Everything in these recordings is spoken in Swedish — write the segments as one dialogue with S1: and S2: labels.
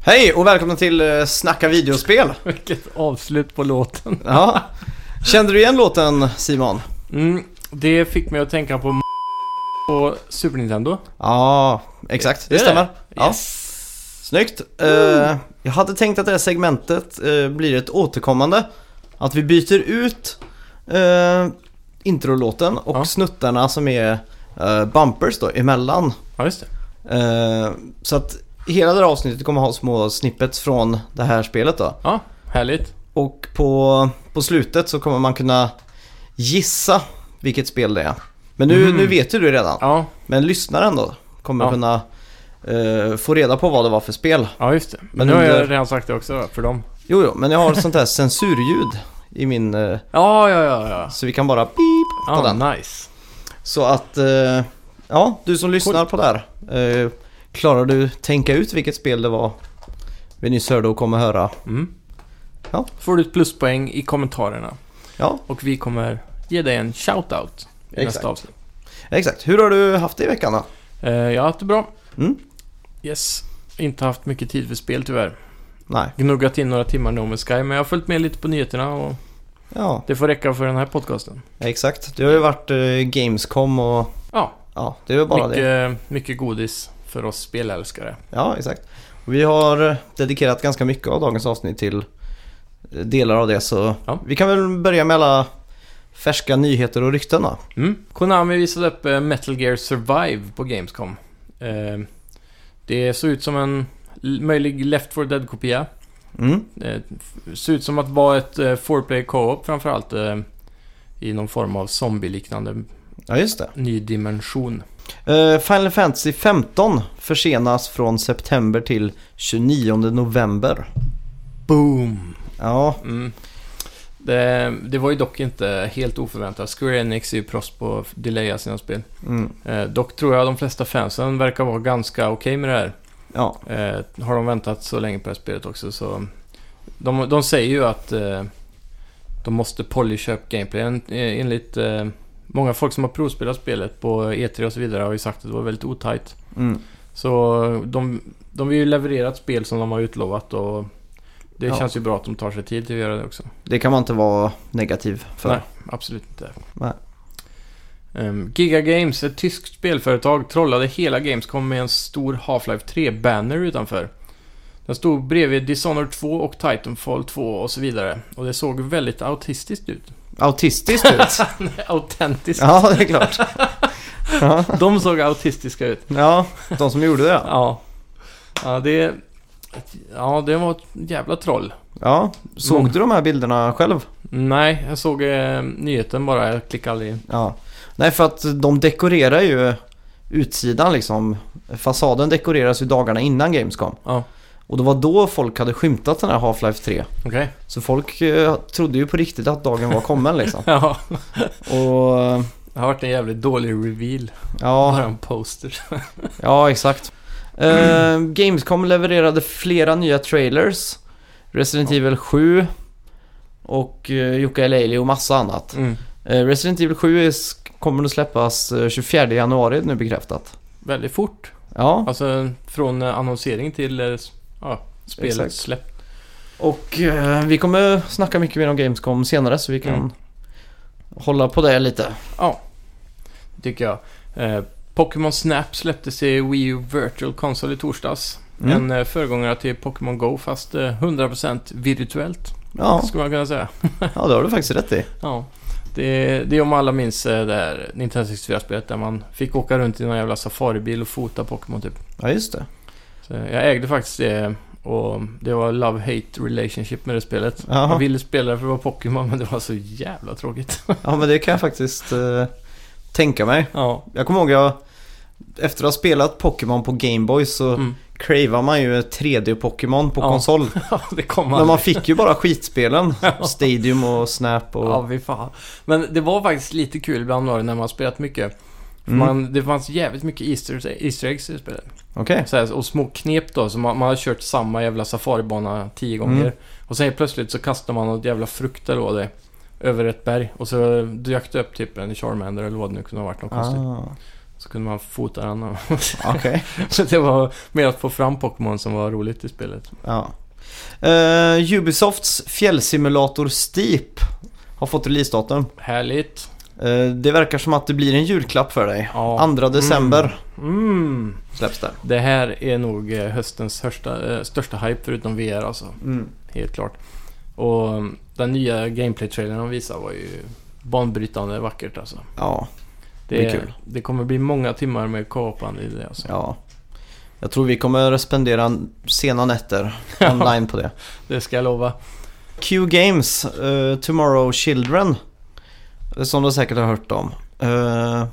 S1: Hej och välkomna till eh, Snacka videospel.
S2: Vilket avslut på låten.
S1: Ja. Kände du igen låten Simon?
S2: Mm, det fick mig att tänka på på Super Nintendo.
S1: Ja, exakt. Det
S2: Är det?
S1: stämmer. Ja.
S2: Yes.
S1: Snyggt. Eh, jag hade tänkt att det här segmentet eh, blir ett återkommande. Att vi byter ut eh, introlåten och
S2: Ja.
S1: snuttarna som är eh, bumpers då emellan.
S2: Ja, just det.
S1: Eh, så att hela det här avsnittet kommer ha små snippets från det här spelet då.
S2: Ja, härligt.
S1: Och på, på slutet så kommer man kunna gissa vilket spel det är. Men nu,
S2: Mhm.
S1: nu vet ju du redan.
S2: Ja,
S1: Men lyssnaren då kommer
S2: Ja.
S1: kunna eh, få reda på vad det var för spel.
S2: ja just det. Men,
S1: Men
S2: nu har
S1: under-
S2: jag redan sagt det också för dem.
S1: Jo, jo, men jag har sånt här censurljud i min... Eh,
S2: Ja, ja, ja, ja.
S1: så vi kan bara pip på
S2: Ja,
S1: den.
S2: Ah, nice.
S1: Så att, eh, ja, du som lyssnar på det här. Eh, klarar du tänka ut vilket spel det var vi nyss hörde och kommer höra?
S2: Mm.
S1: Ja.
S2: Får du ett pluspoäng i kommentarerna.
S1: Ja,
S2: Och vi kommer ge dig en shoutout i
S1: Exakt.
S2: nästa avsnitt.
S1: exakt. Hur har du haft det i veckan då?
S2: Eh, jag har haft det bra.
S1: Mm.
S2: Yes. Inte haft mycket tid för spel tyvärr.
S1: Nej,
S2: Gnuggat in några timmar No Man's Sky, men jag har följt med lite på nyheterna och
S1: ja,
S2: det får räcka för den här podcasten.
S1: exakt. Det har ju varit eh, Gamescom och
S2: Ja,
S1: Ja, det är väl bara det.
S2: mycket, mycket godis för oss spelälskare.
S1: Ja, exakt. Och vi har eh, dedikerat ganska mycket av dagens avsnitt till eh, delar av det så
S2: Ja.
S1: vi kan väl börja med alla färska nyheter och rykten då.
S2: Mm. Konami visade upp eh, Metal Gear Survive på Gamescom. Eh, Det såg ut som en l- möjlig Left 4 Dead-kopia.
S1: Mm.
S2: Eh, f- Såg ut som att vara ett eh, four player co-op framförallt. eh, I någon form av zombie-liknande
S1: Ja, just det.
S2: ny dimension.
S1: Eh, Final Fantasy 15 försenas från september till 29 november.
S2: Boom!
S1: Ja,
S2: Mm. Det, det var ju dock inte helt oväntat. Square Enix är ju proffs på att delaya sina spel.
S1: mm.
S2: Eh, dock tror jag de flesta fansen verkar vara ganska okej med det här.
S1: ja,
S2: Eh, har de väntat så länge på det här spelet också så... De, de säger ju att eh, de måste polisha upp gameplayen eh, enligt... Eh, många folk som har provspelat spelet på E3 och så vidare har ju sagt att det var väldigt otajt.
S1: mm.
S2: Så de, de vill ju leverera ett spel som de har utlovat och... Det
S1: Ja.
S2: känns ju bra att de tar sig tid till att göra det också.
S1: det kan man inte vara negativ för.
S2: Nej, absolut inte.
S1: Nej.
S2: Ehm, Giga Games, ett tyskt spelföretag, trollade hela Gamescom med en stor Half-Life 3-banner utanför. Den stod bredvid Dishonored 2 och Titanfall 2 och så vidare. Och det såg väldigt autistiskt ut.
S1: Autistiskt ut.
S2: Autentiskt.
S1: ja, det är klart. ja.
S2: De såg autistiska ut.
S1: ja, de som gjorde det.
S2: Ja. Ja, det... Ja, det var ett jävla troll.
S1: Ja, såg du de här bilderna själv?
S2: Nej, jag såg eh, nyheten bara. Jag klickade aldrig in.
S1: Ja. Nej, för att de dekorerar ju utsidan liksom. Fasaden dekoreras ju dagarna innan Gamescom.
S2: Ja,
S1: Och det var då folk hade skymtat den här Half-Life 3.
S2: okej.
S1: Så folk eh, trodde ju på riktigt att dagen var kommen liksom.
S2: Ja,
S1: Och eh,
S2: det har varit en jävligt dålig reveal. Bara
S1: ja,
S2: en poster.
S1: ja exakt. Eh, Gamescom levererade flera nya trailers. Resident Evil 7 och eh, Jukka Elaili och massa annat.
S2: Mm.
S1: Eh, Resident Evil 7 är sk- kommer att släppas eh, 24 januari nu bekräftat.
S2: Väldigt fort.
S1: Ja.
S2: Alltså från eh, annonsering till eh, s- ja,
S1: Exakt.
S2: spelet släpp.
S1: Och eh, vi kommer snacka mycket mer om Gamescom senare så vi kan
S2: Mm.
S1: hålla på det lite.
S2: Tycker jag. Eh, Pokémon Snap släpptes i Wii U Virtual Console i torsdags.
S1: Mm.
S2: En eh, föregångare till Pokémon Go fast eh, 100% virtuellt.
S1: Ja,
S2: Skulle man kunna säga.
S1: ja, det har du faktiskt rätt i.
S2: Ja. Det, det är om alla minns eh, det här Nintendo 64-spelet där man fick åka runt i någon jävla safaribil och fota Pokémon typ.
S1: Ja, just det.
S2: Så jag ägde faktiskt det och det var love-hate relationship med det spelet.
S1: Jaha.
S2: Jag ville spela det för att vara Pokémon men det var så jävla tråkigt.
S1: Ja, men det kan jag faktiskt eh, tänka mig.
S2: ja.
S1: Jag kommer ihåg jag, efter att ha spelat Pokémon på Gameboy så
S2: Mm.
S1: cravar man ju 3D-Pokémon på
S2: Ja.
S1: konsol.
S2: Ja, det kom
S1: Men
S2: man.
S1: man fick ju bara skitspelen. Stadium och Snap och...
S2: Ja, fy fan. Men det var faktiskt lite kul ibland var det när man spelat mycket. För
S1: Mm.
S2: Man, det fanns jävligt mycket Easter, Easter eggs i spelet.
S1: Okej.
S2: Så här, och små knep då, så man, man har kört samma jävla safaribana tio gånger.
S1: Mm.
S2: Och sen helt plötsligt så kastar man något jävla frukt eller vad det är, Över ett berg. Och så dök det upp typ en Charmander eller vad det nu kunde ha varit. Något konstigt.
S1: Ah.
S2: Så kunde man fota den. och-
S1: Okej.
S2: Så det var mer att få fram Pokémon som var roligt i spelet.
S1: Ja. Eh, Ubisofts fjällsimulator Steep har fått releasedatum.
S2: Härligt.
S1: Eh, det verkar som att det blir en julklapp för dig.
S2: Ja.
S1: 2 december
S2: Mm.
S1: släpps det.
S2: Det här är nog eh, höstens största, eh, största hype förutom VR alltså.
S1: Mm.
S2: Helt klart. Och mm, den nya gameplay-trailern de visade var ju banbrytande vackert alltså.
S1: Ja,
S2: Det,
S1: Det blir kul.
S2: det kommer bli många timmar med kapande i det alltså.
S1: ja. Jag tror vi kommer spendera sena nätter online på det.
S2: Det ska jag lova.
S1: Q Games, eh, Tomorrow Children. eh, Som du säkert har hört om. Eh,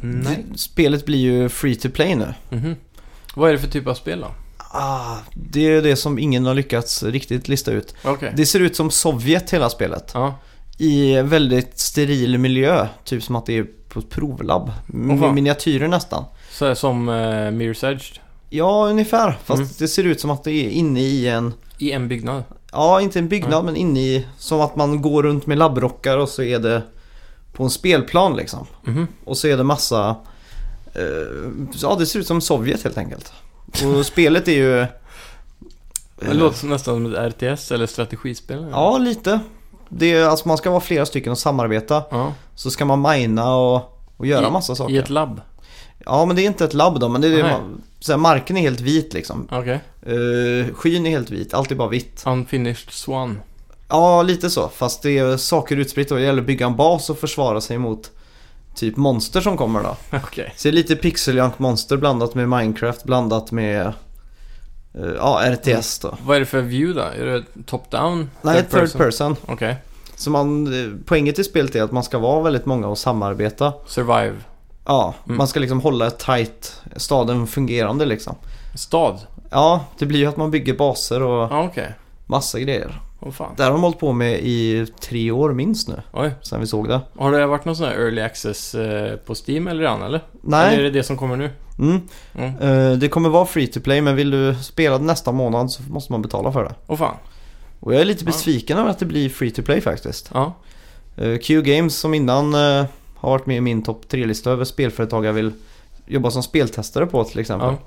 S2: Nej.
S1: d- Spelet blir ju free to play nu.
S2: Mhm. Vad är det för typ av spel då?
S1: Ah, det är det som ingen har lyckats riktigt lista ut.
S2: Okej.
S1: Det ser ut som Sovjet hela spelet.
S2: Ja.
S1: i en väldigt steril miljö. Typ som att det är på ett provlabb. Med
S2: Åh, fan.
S1: miniatyrer nästan.
S2: Så här som eh, Mirror's Edge.
S1: Ja, ungefär. Fast
S2: Mm.
S1: det ser ut som att det är inne i en...
S2: I en byggnad.
S1: Ja, inte en byggnad
S2: Ja.
S1: men inne i... Som att man går runt med labbrockar och så är det på en spelplan liksom.
S2: Mhm.
S1: Och så är det massa... eh, ja, det ser ut som Sovjet helt enkelt. Och spelet är ju... eh,
S2: Det låter som- nästan som ett RTS eller strategispel.
S1: Ja, lite. Det är, alltså man ska vara flera stycken och samarbeta.
S2: ja.
S1: Så ska man mina och, och göra
S2: I-
S1: massa saker.
S2: I ett labb.
S1: Ja men det är inte ett labb då, men det är det
S2: Nej.
S1: man, så här, marken är helt vit liksom.
S2: Okej.
S1: Uh, skyn är helt vit, allt är bara vitt.
S2: Unfinished Swan.
S1: Ja lite så, fast det är saker utspritt och det gäller att bygga en bas och försvara sig mot typ monster som kommer då.
S2: Okej.
S1: Så det är lite pixeljunk monster blandat med Minecraft blandat med eh, ja, RTS då.
S2: Vad är det för view då? Är det top-down?
S1: Nej, third person.
S2: Okej.
S1: Så man, eh, poängen till spelet är att man ska vara väldigt många och samarbeta.
S2: Survive.
S1: Ja,
S2: Mm.
S1: man ska liksom hålla ett tight, staden fungerande liksom.
S2: Stad?
S1: Ja, det blir ju att man bygger baser och
S2: Ja, okej.
S1: massa grejer.
S2: Åh fan.
S1: Det här har de hållit på med i tre år minst nu,
S2: Oj.
S1: sen vi såg det.
S2: Har det varit någon sån här early access eh, på Steam eller annan eller?
S1: Nej,
S2: Eller är det det som kommer nu?
S1: mm.
S2: Mm.
S1: Eh, det kommer vara free to play men vill du spela det nästa månad så måste man betala för det.
S2: Åh fan.
S1: Och jag är lite
S2: Ja.
S1: besviken över att det blir free to play faktiskt.
S2: Ja.
S1: Eh, Q Games som innan eh, har varit med i min topp 3-lista över spelföretag jag vill jobba som speltestare på till exempel.
S2: Ja,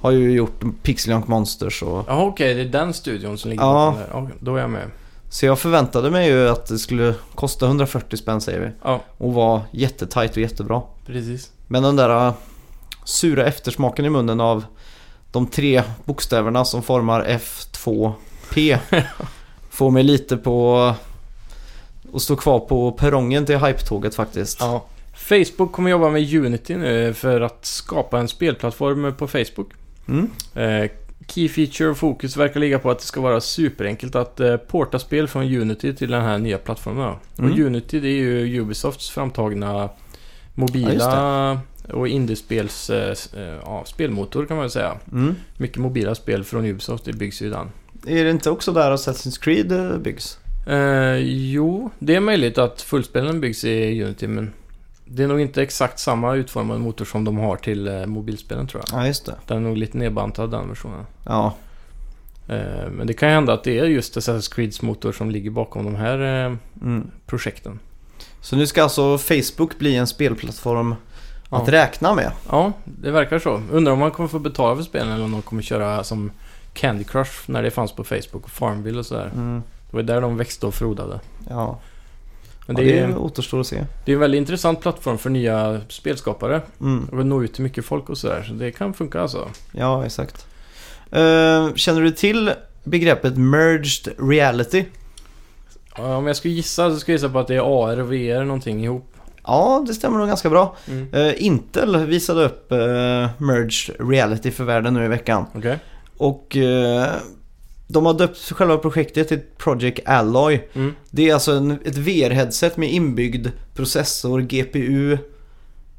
S1: Har ju gjort Pixel Junk Monsters och...
S2: ja okej. Det är den studion som ligger
S1: Ja.
S2: bakom där. Okej, Då är jag med.
S1: Så jag förväntade mig ju att det skulle kosta 140 spänn säger vi.
S2: Ja,
S1: Och vara jättetajt och jättebra.
S2: precis.
S1: Men den där äh, sura eftersmaken i munnen av de tre bokstäverna som formar F2P får mig lite på äh, att stå kvar på perrongen till hype-tåget faktiskt.
S2: Ja. Facebook kommer jobba med Unity nu för att skapa en spelplattform på Facebook.
S1: Mm.
S2: Eh, Key feature och fokus verkar ligga på att det ska vara superenkelt att eh, porta spel från Unity till den här nya plattformen. då. Och
S1: Mm.
S2: Unity det är ju Ubisofts framtagna mobila
S1: Ja,
S2: och indiespels eh, s- eh, ja, spelmotor kan man väl säga.
S1: Mm.
S2: Mycket mobila spel från Ubisoft, det byggs ju i den.
S1: Är det inte också där Assassin's Creed eh, byggs?
S2: Eh, jo, det är möjligt att fullspelen byggs i Unity men det är nog inte exakt samma utformad motor som de har till eh, mobilspelen tror jag.
S1: Ja, just det.
S2: Den är nog lite nedbantad den versionen.
S1: Ja,
S2: Eh, Men det kan ju hända att det är just Assassin's Creeds motor som ligger bakom de här eh,
S1: mm.
S2: projekten.
S1: Så nu ska alltså Facebook bli en spelplattform
S2: Ja.
S1: att räkna med?
S2: Ja, det verkar så. Undrar om man kommer få betala för spelen eller om de kommer köra som Candy Crush när det fanns på Facebook och Farmville och sådär.
S1: Mm.
S2: Det var där de växte och frodade.
S1: Ja.
S2: Men
S1: ja,
S2: det,
S1: det
S2: är,
S1: återstår att se.
S2: det är en väldigt intressant plattform för nya spelskapare.
S1: Mm.
S2: Och nå ut till mycket folk och sådär. Så det kan funka alltså.
S1: Ja, exakt. Eh, känner du till begreppet merged reality?
S2: Ja, Om jag skulle gissa så skulle jag gissa på att det är AR och VR någonting ihop.
S1: Ja, det stämmer nog ganska bra.
S2: Mm.
S1: Eh, Intel visade upp eh, merged reality för världen nu i veckan.
S2: Okej.
S1: Och eh, de har döpt själva projektet till Project Alloy.
S2: Mm.
S1: Det är alltså en, ett VR-headset med inbyggd processor, GPU.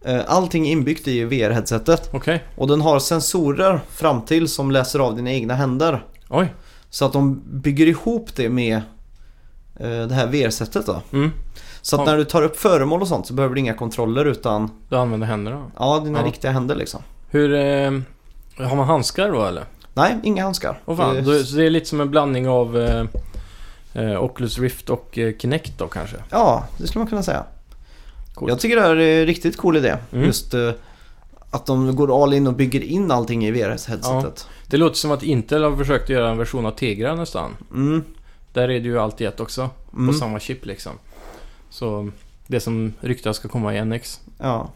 S1: eh, Allting är inbyggt i VR-headsetet.
S2: Okej.
S1: Och den har sensorer fram till som läser av dina egna händer.
S2: Oj.
S1: Så att de bygger ihop det med eh, det här VR-sättet då.
S2: Mm.
S1: Så att
S2: Ja.
S1: när du tar upp föremål och sånt så behöver du inga kontroller utan
S2: Du använder händerna.
S1: ja, dina
S2: Ja.
S1: riktiga händer liksom.
S2: Hur... Eh, har man handskar då eller?
S1: Nej, inga handskar.
S2: Åh fan,
S1: Det-
S2: då- så det är lite som en blandning av eh, eh, Oculus Rift och eh, Kinect då kanske?
S1: Ja, det skulle man kunna säga.
S2: Coolt.
S1: Jag tycker det här är en riktigt cool idé.
S2: Mm.
S1: Just eh, att de går all in och bygger in allting i VR-headsetet.
S2: Det låter som att Intel har försökt göra en version av Tegra nästan.
S1: Mm,
S2: Där är det ju allt i ett också.
S1: mm,
S2: På samma chip liksom. Så det som ryktas ska komma i NX.
S1: ja.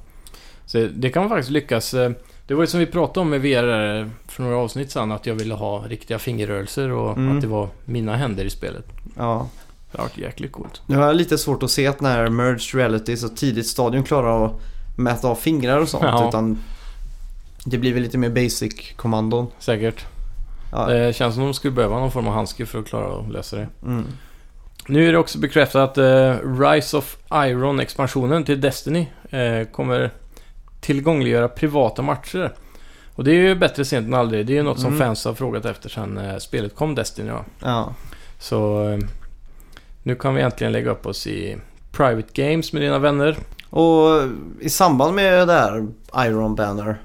S2: Så det kan faktiskt lyckas. eh, Det var ju som vi pratade om med VR för några avsnitt sedan. Att jag ville ha riktiga fingerrörelser och
S1: Mm.
S2: att det var mina händer i spelet.
S1: ja.
S2: Det har varit jäkligt coolt.
S1: Nu har jag lite svårt att se att när merged reality så tidigt stadion klarar av att mäta av fingrar och sånt.
S2: Ja.
S1: Utan det blir väl lite mer basic-kommandon.
S2: Säkert.
S1: Ja.
S2: Det Eh, känns som de skulle behöva någon form av handske för att klara att lösa det.
S1: Mm.
S2: Nu är det också bekräftat att eh, Rise of Iron-expansionen till Destiny eh, kommer tillgängliggöra privata matcher. Och det är ju bättre sent än aldrig. Det är ju något
S1: Mm.
S2: som fans har frågat efter sedan eh, spelet kom, Destiny. Ja.
S1: Ja.
S2: Så eh, nu kan vi äntligen lägga upp oss i Private Games med dina vänner.
S1: Och i samband med det här Iron Banner.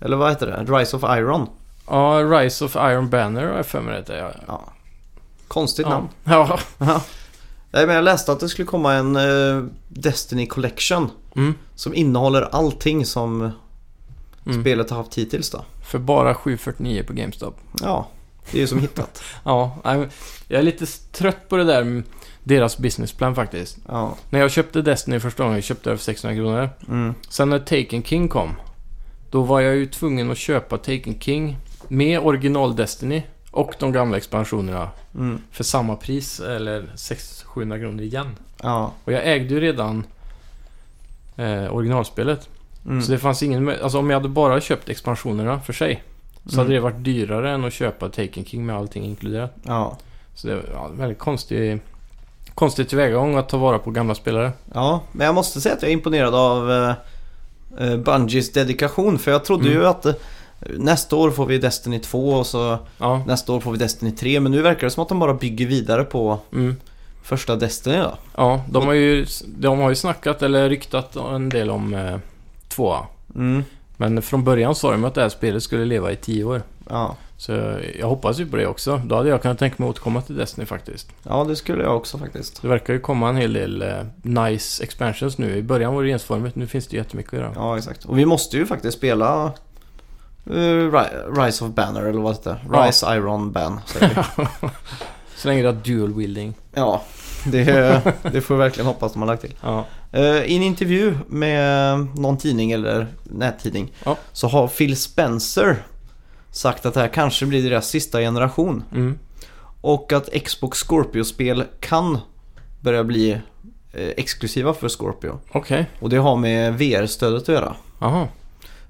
S1: Eller vad heter det? Rise of Iron.
S2: Ja, Rise of Iron Banner har jag för mig det heter. Ja.
S1: Ja. Konstigt
S2: Ja.
S1: namn.
S2: ja.
S1: Ja. Nej, men jag läste att det skulle komma en eh, Destiny Collection.
S2: Mm.
S1: Som innehåller allting som
S2: Mm.
S1: spelet har haft hittills då.
S2: För bara 749 på GameStop.
S1: Ja, det är ju som hittat.
S2: Ja, nej, men jag är lite trött på det där med deras businessplan faktiskt.
S1: Ja.
S2: När jag köpte Destiny första gången, jag köpte det för 600 kronor.
S1: Mm.
S2: Sen när Taken King kom, då var jag ju tvungen att köpa Taken King med original Destiny och de gamla expansionerna
S1: Mm.
S2: för samma pris, eller 600-700 kronor igen.
S1: Ja.
S2: Och jag ägde ju redan eh, originalspelet.
S1: Mm.
S2: Så det fanns ingen mö- Alltså om jag hade bara köpt expansionerna för sig, så hade
S1: Mm.
S2: det varit dyrare än att köpa Taken King med allting inkluderat.
S1: Ja.
S2: Så det var ja, väldigt konstig, konstig tillvägagång att ta vara på gamla spelare.
S1: ja, men jag måste säga att jag är imponerad av eh, eh, Bungies dedikation. För jag trodde
S2: Mm.
S1: ju att eh, nästa år får vi Destiny 2 och så
S2: Ja,
S1: nästa år får vi Destiny 3. Men nu verkar det som att de bara bygger vidare på
S2: mm.
S1: första Destiny då.
S2: Ja, de har ju, de har ju snackat eller ryktat en del om eh, tvåa.
S1: Mm.
S2: Men från början sa de att det här spelet skulle leva i tio år.
S1: Ja.
S2: Så jag hoppas ju på det också. Då hade jag kunnat tänka mig att återkomma till Destiny faktiskt.
S1: ja, det skulle jag också faktiskt.
S2: Det verkar ju komma en hel del eh, nice expansions nu. I början var det ensformigt, nu finns det jättemycket att göra.
S1: Ja, exakt. Och vi måste ju faktiskt spela eh, Ri- Rise of Banner eller vad det heter.
S2: Ja.
S1: Rise Iron Ban säger vi.
S2: Så länge det är dual wielding.
S1: Ja, det, det får vi verkligen hoppas de har lagt till.
S2: Ja.
S1: Eh, I en intervju med någon tidning eller nättidning
S2: Ja.
S1: så har Phil Spencer sagt att det här kanske blir deras sista generation.
S2: Mm.
S1: Och att Xbox Scorpio-spel kan börja bli eh, exklusiva för Scorpio.
S2: Okej.
S1: Och det har med VR-stödet att göra.
S2: Jaha.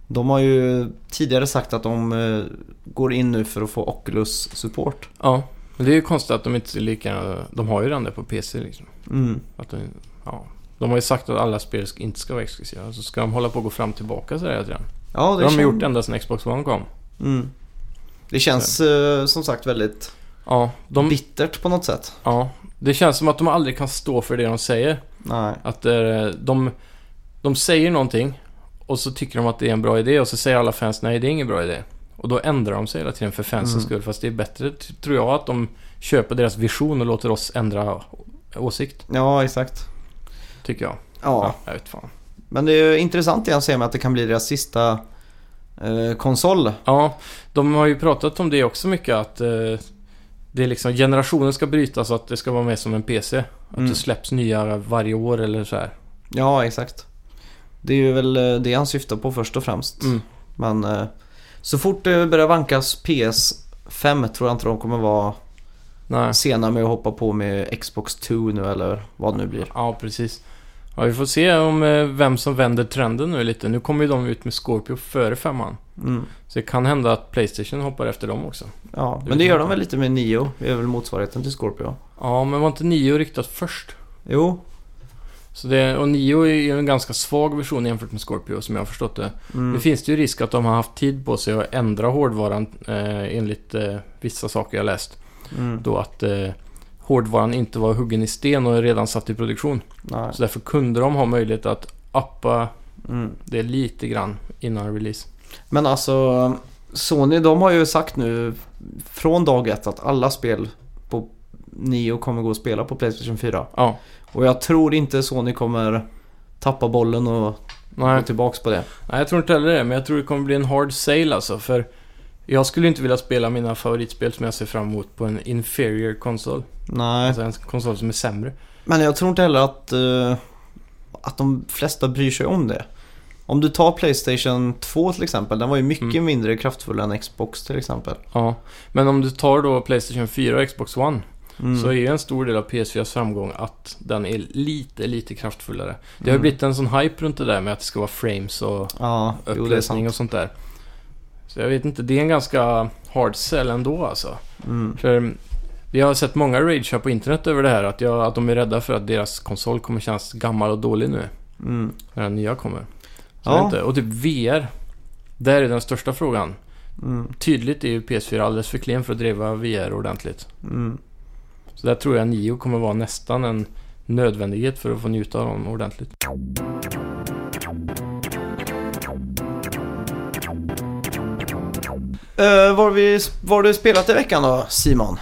S1: De har ju tidigare sagt att de eh, går in nu för att få Oculus-support.
S2: Ja. Men det är ju konstigt att de inte är lika... De har ju den där på PC liksom.
S1: Mm.
S2: Att de, ja. de har ju sagt att alla spel ska- inte ska vara exklusiva. Så ska de hålla på och gå fram och tillbaka sådär hela tiden.
S1: Ja,
S2: Det har de
S1: kän-
S2: gjort ända sedan Xbox One kom.
S1: Mm. Det känns eh, som sagt väldigt
S2: Ja, de,
S1: bittert på något sätt.
S2: ja, det känns som att de aldrig kan stå för det de säger.
S1: Nej.
S2: Att eh, de, de säger någonting och så tycker de att det är en bra idé och så säger alla fans nej, det är ingen bra idé. Och då ändrar de sig hela tiden för fansens
S1: Mm.
S2: skull. Fast det är bättre, t- tror jag, att de köper deras vision och låter oss ändra å- åsikt.
S1: Ja, exakt.
S2: Tycker jag.
S1: Ja,
S2: Ja, jag vet fan.
S1: men det är ju intressant igen att se med att det kan bli deras sista eh, konsol.
S2: Ja, de har ju pratat om det också mycket att eh, det är liksom generationen ska brytas så att det ska vara med som en PC. Att
S1: Mm.
S2: det släpps nya varje år eller så här.
S1: Ja, exakt. Det är ju väl eh, det han syftar på först och främst.
S2: Mm.
S1: Men eh, så fort det börjar vankas PS5 tror jag inte de kommer vara
S2: Nej.
S1: sena med att hoppa på med Xbox 2 nu eller vad det nu blir.
S2: Ja, precis. Ja, vi får se om eh, vem som vänder trenden nu lite. Nu kommer ju de ut med Scorpio före femman.
S1: Mm.
S2: Så det kan hända att Playstation hoppar efter dem också.
S1: Ja,
S2: Det
S1: men
S2: vet
S1: det gör
S2: man
S1: de
S2: inte.
S1: väl lite med Nio. Det är väl motsvarigheten till Scorpio.
S2: Ja, men var inte Nio riktat först?
S1: Jo.
S2: Så det, och Nio är ju en ganska svag version jämfört med Scorpio som jag har förstått det.
S1: Mm.
S2: Nu finns det ju risk att de har haft tid på sig att ändra hårdvaran eh, enligt eh, vissa saker jag läst.
S1: Mm.
S2: Då att eh, hårdvaran inte var huggen i sten och redan satt i produktion.
S1: Nej.
S2: Så därför kunde de ha möjlighet att uppa
S1: Mm.
S2: det lite grann innan release.
S1: Men alltså Sony de har ju sagt nu från dag ett att alla spel på Nio kommer gå att spela på Playstation 4.
S2: Ja,
S1: Och jag tror inte Sony kommer tappa bollen och gå
S2: Nej.
S1: tillbaks på det.
S2: Nej, jag tror inte heller det, men jag tror det kommer bli en hard sale alltså. För jag skulle inte vilja spela mina favoritspel som jag ser fram emot på en inferior konsol.
S1: Nej.
S2: Alltså en konsol som är sämre.
S1: Men jag tror inte heller att, eh, att de flesta bryr sig om det. Om du tar Playstation 2 till exempel, den var ju mycket
S2: Mm.
S1: mindre kraftfull än Xbox till exempel.
S2: Ja, men om du tar då Playstation 4 och Xbox One
S1: Mm.
S2: så är ju en stor del av PS4s framgång att den är lite, lite kraftfullare. Det har ju
S1: Mm.
S2: blivit en sån hype runt det där med att det ska vara frames och
S1: Ja, jo det är
S2: upplösning
S1: sant.
S2: och sånt där. Så jag vet inte, det är en ganska hard sell ändå alltså.
S1: Mm.
S2: För jag har sett många ragea på internet över det här, att, jag, att de är rädda för att deras konsol kommer kännas gammal och dålig nu.
S1: Mm.
S2: När den nya kommer. Så
S1: Ja.
S2: jag vet inte. Och typ VR. Där är den största frågan.
S1: Mm.
S2: Tydligt är ju PS4 alldeles för klen för att driva VR ordentligt.
S1: Mm.
S2: Så där tror jag Nio kommer vara nästan en nödvändighet för att få njuta av dem ordentligt.
S1: Eh, vad, har vi, vad har du spelat i veckan då, Simon?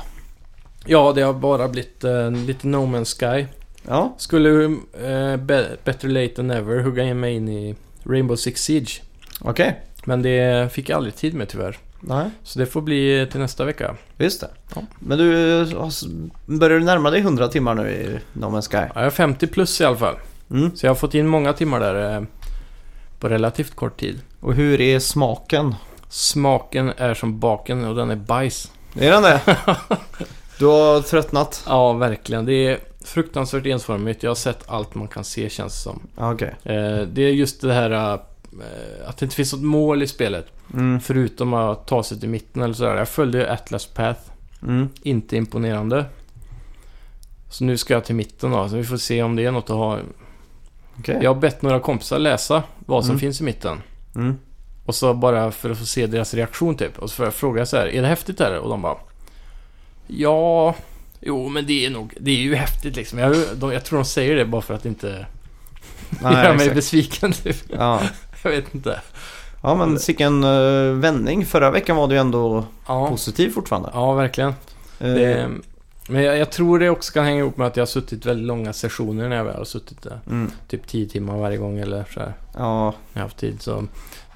S2: Ja, det har bara blivit eh, lite No Man's Sky.
S1: Ja,
S2: Skulle eh, be- Better Late Than Never hugga in mig in i Rainbow Six Siege.
S1: okej.
S2: Men det fick jag aldrig tid med tyvärr.
S1: Nej,
S2: Så det får bli till nästa vecka.
S1: just det.
S2: Ja.
S1: Men du, har s- börjar du närma dig 100 timmar nu i No Man's Sky?
S2: Ja, jag är 50 plus i alla fall.
S1: Mm.
S2: Så jag har fått in många timmar där eh, på relativt kort tid.
S1: Och hur är smaken?
S2: Smaken är som baken och den är bajs.
S1: Är den det? du har tröttnat?
S2: Ja, verkligen. Det är fruktansvärt ensformigt. Jag har sett allt man kan se känns det som.
S1: Ja, Okej.
S2: Eh, det är just det här eh, att det inte finns något mål i spelet.
S1: Mm.
S2: Förutom att ta sig till mitten eller sådär. Jag följde ju Atlas Path.
S1: Mm.
S2: Inte imponerande. Så nu ska jag till mitten då. Så vi får se om det är något att ha.
S1: Okej.
S2: Jag har bett några kompisar läsa vad som
S1: Mm.
S2: finns i mitten.
S1: Mm.
S2: Och så bara för att få se deras reaktion typ. Och så får jag fråga så här, är det häftigt här? Och de bara... Ja... Jo, men det är nog... Det är ju häftigt liksom. Jag, de, jag tror de säger det bara för att inte göra
S1: Nej,
S2: mig
S1: exakt.
S2: besviken typ.
S1: Ja.
S2: Jag vet inte.
S1: ja, men sicken eh, vändning. Förra veckan var du ju ändå
S2: Ja,
S1: positiv fortfarande.
S2: ja verkligen.
S1: Eh,
S2: Det, men jag, jag tror det också kan hänga ihop med att jag har suttit väldigt långa sessioner när jag väl har suttit där.
S1: Mm.
S2: Typ 10 timmar varje gång eller så här.
S1: Ja,
S2: När jag har haft tid. Så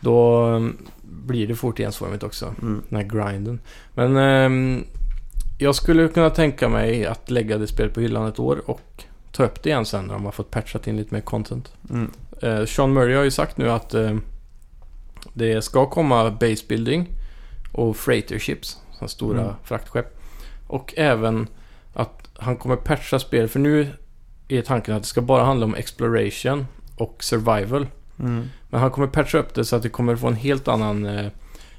S2: då mm, blir det fort ensformigt också.
S1: mm.
S2: Den här grinden. Men ehm, jag skulle kunna tänka mig att lägga det spelet på hyllan ett år och ta upp det igen sen när de har fått patchat in lite mer content.
S1: Mm.
S2: Eh, Sean Murray har ju sagt nu att eh, det ska komma base building och freighter ships, sådana stora
S1: Mm.
S2: fraktskepp. Och även att han kommer patcha spel för nu är tanken att det ska bara handla om exploration och survival.
S1: Mm.
S2: Men han kommer patcha upp det så att det kommer få en helt annan eh,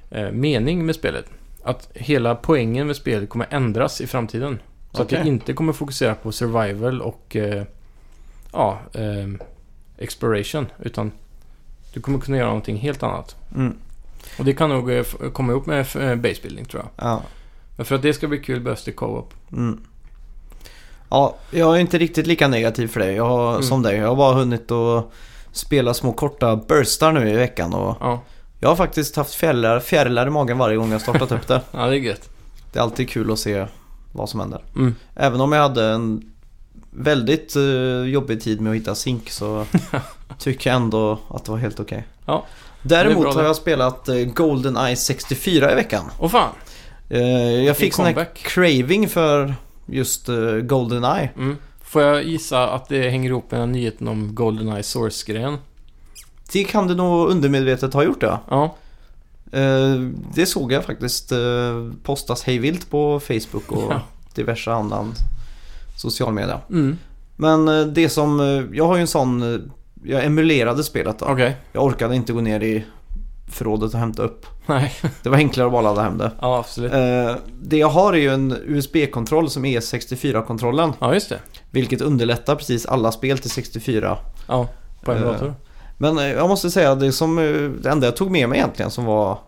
S2: eh, mening med spelet. Att hela poängen med spelet kommer ändras i framtiden. Så att
S1: Okej.
S2: det inte kommer fokusera på survival och eh, ja, eh, exploration. Utan du kommer kunna göra någonting helt annat.
S1: Mm.
S2: Och det kan nog eh, f- komma ihop med eh, basebuilding tror jag.
S1: Ja.
S2: Men för att det ska bli kul behövs det co-op.
S1: Mm. Ja, jag är inte riktigt lika negativ för dig jag har,
S2: Mm.
S1: som dig. Jag har bara hunnit att spela små korta burstar nu i veckan och
S2: Ja.
S1: jag har faktiskt haft fjärilar, fjärilar i magen varje gång jag startat upp det.
S2: ja, det är gött.
S1: Det är alltid kul att se vad som händer.
S2: Mm.
S1: Även om jag hade en väldigt eh, jobbig tid med att hitta zink så tycker jag ändå att det var helt okej.
S2: Ja, det är
S1: Däremot
S2: bra
S1: har
S2: det.
S1: jag spelat eh, GoldenEye 64 i veckan.
S2: Och fan!
S1: Eh, jag fick sån här
S2: comeback.
S1: craving för just eh, GoldenEye.
S2: Mm. Får jag gissa att det hänger ihop med den här nyheten om Goldeneye Source-grejen?
S1: Det kan du nog undermedvetet ha gjort ja.
S2: Ja.
S1: Eh, Det såg jag faktiskt eh, postas hejvilt på Facebook och
S2: Ja.
S1: diverse annan social media.
S2: Mm.
S1: Men eh, det som, eh, jag har ju en sån, eh, jag emulerade spelet då.
S2: Okej.
S1: Jag orkade inte gå ner i förrådet och hämta upp.
S2: Nej.
S1: Det var enklare att bara ladda hem det.
S2: Ja, absolut.
S1: Eh, Det jag har är ju en USB-kontroll som är 64-kontrollen.
S2: Ja, just det.
S1: Vilket underlättar precis alla spel till 64.
S2: Ja, på en
S1: Eh,
S2: dator.
S1: Men eh, jag måste säga det som eh, det enda jag tog med mig egentligen som var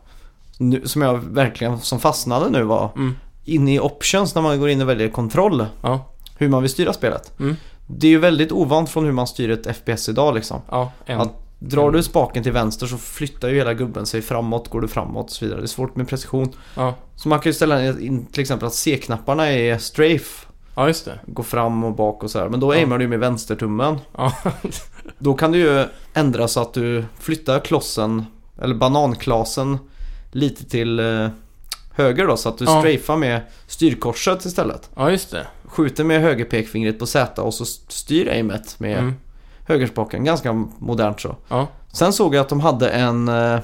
S1: nu, som jag verkligen som fastnade nu var
S2: Mm.
S1: inne i options när man går in och väljer kontroll
S2: Ja,
S1: hur man vill styra spelet.
S2: Mm.
S1: Det är ju väldigt ovant från hur man styr ett FPS idag liksom.
S2: ja, en.
S1: Att
S2: Mm.
S1: drar du spaken till vänster så flyttar ju hela gubben sig framåt, går du framåt och så vidare. Det är svårt med precision.
S2: Ja.
S1: Så man kan ju ställa in till exempel att C-knapparna är strafe,
S2: ja, just det.
S1: går fram och bak och så här. Men då
S2: Ja.
S1: aimar du ju med vänstertummen.
S2: Ja.
S1: Då kan du ju ändra så att du flyttar klossen, eller bananklasen, lite till eh, höger då. Så att du
S2: Ja.
S1: strafar med styrkorset istället.
S2: Ja, just det.
S1: Skjuter med högerpekfingret på Z och så styr aimet med
S2: Mm.
S1: högerspaken. Ganska modernt så.
S2: Ja.
S1: Sen såg jag att de hade en eh, eh,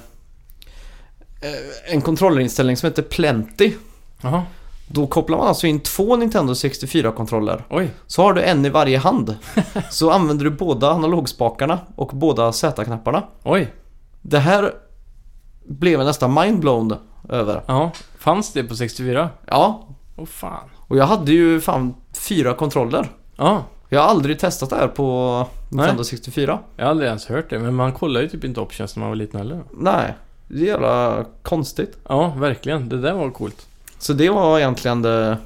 S1: en kontrollerinställning som heter Plenty.
S2: Jaha.
S1: Då kopplar man alltså in två Nintendo 64-kontroller.
S2: Oj.
S1: Så har du en i varje hand. Så använder du båda analogspakarna och båda Z-knapparna.
S2: Oj.
S1: Det här blev jag nästan mindblown över.
S2: Ja. Fanns det på 64?
S1: Ja,
S2: Åh fan.
S1: och jag hade ju fan fyra kontroller.
S2: Ja.
S1: Jag har aldrig testat det här på Nintendo 64.
S2: Jag har aldrig ens hört det, men man kollade ju typ inte options när man var liten heller.
S1: Nej, det är jävla konstigt.
S2: Ja, verkligen. Det där var coolt.
S1: Så det var egentligen det,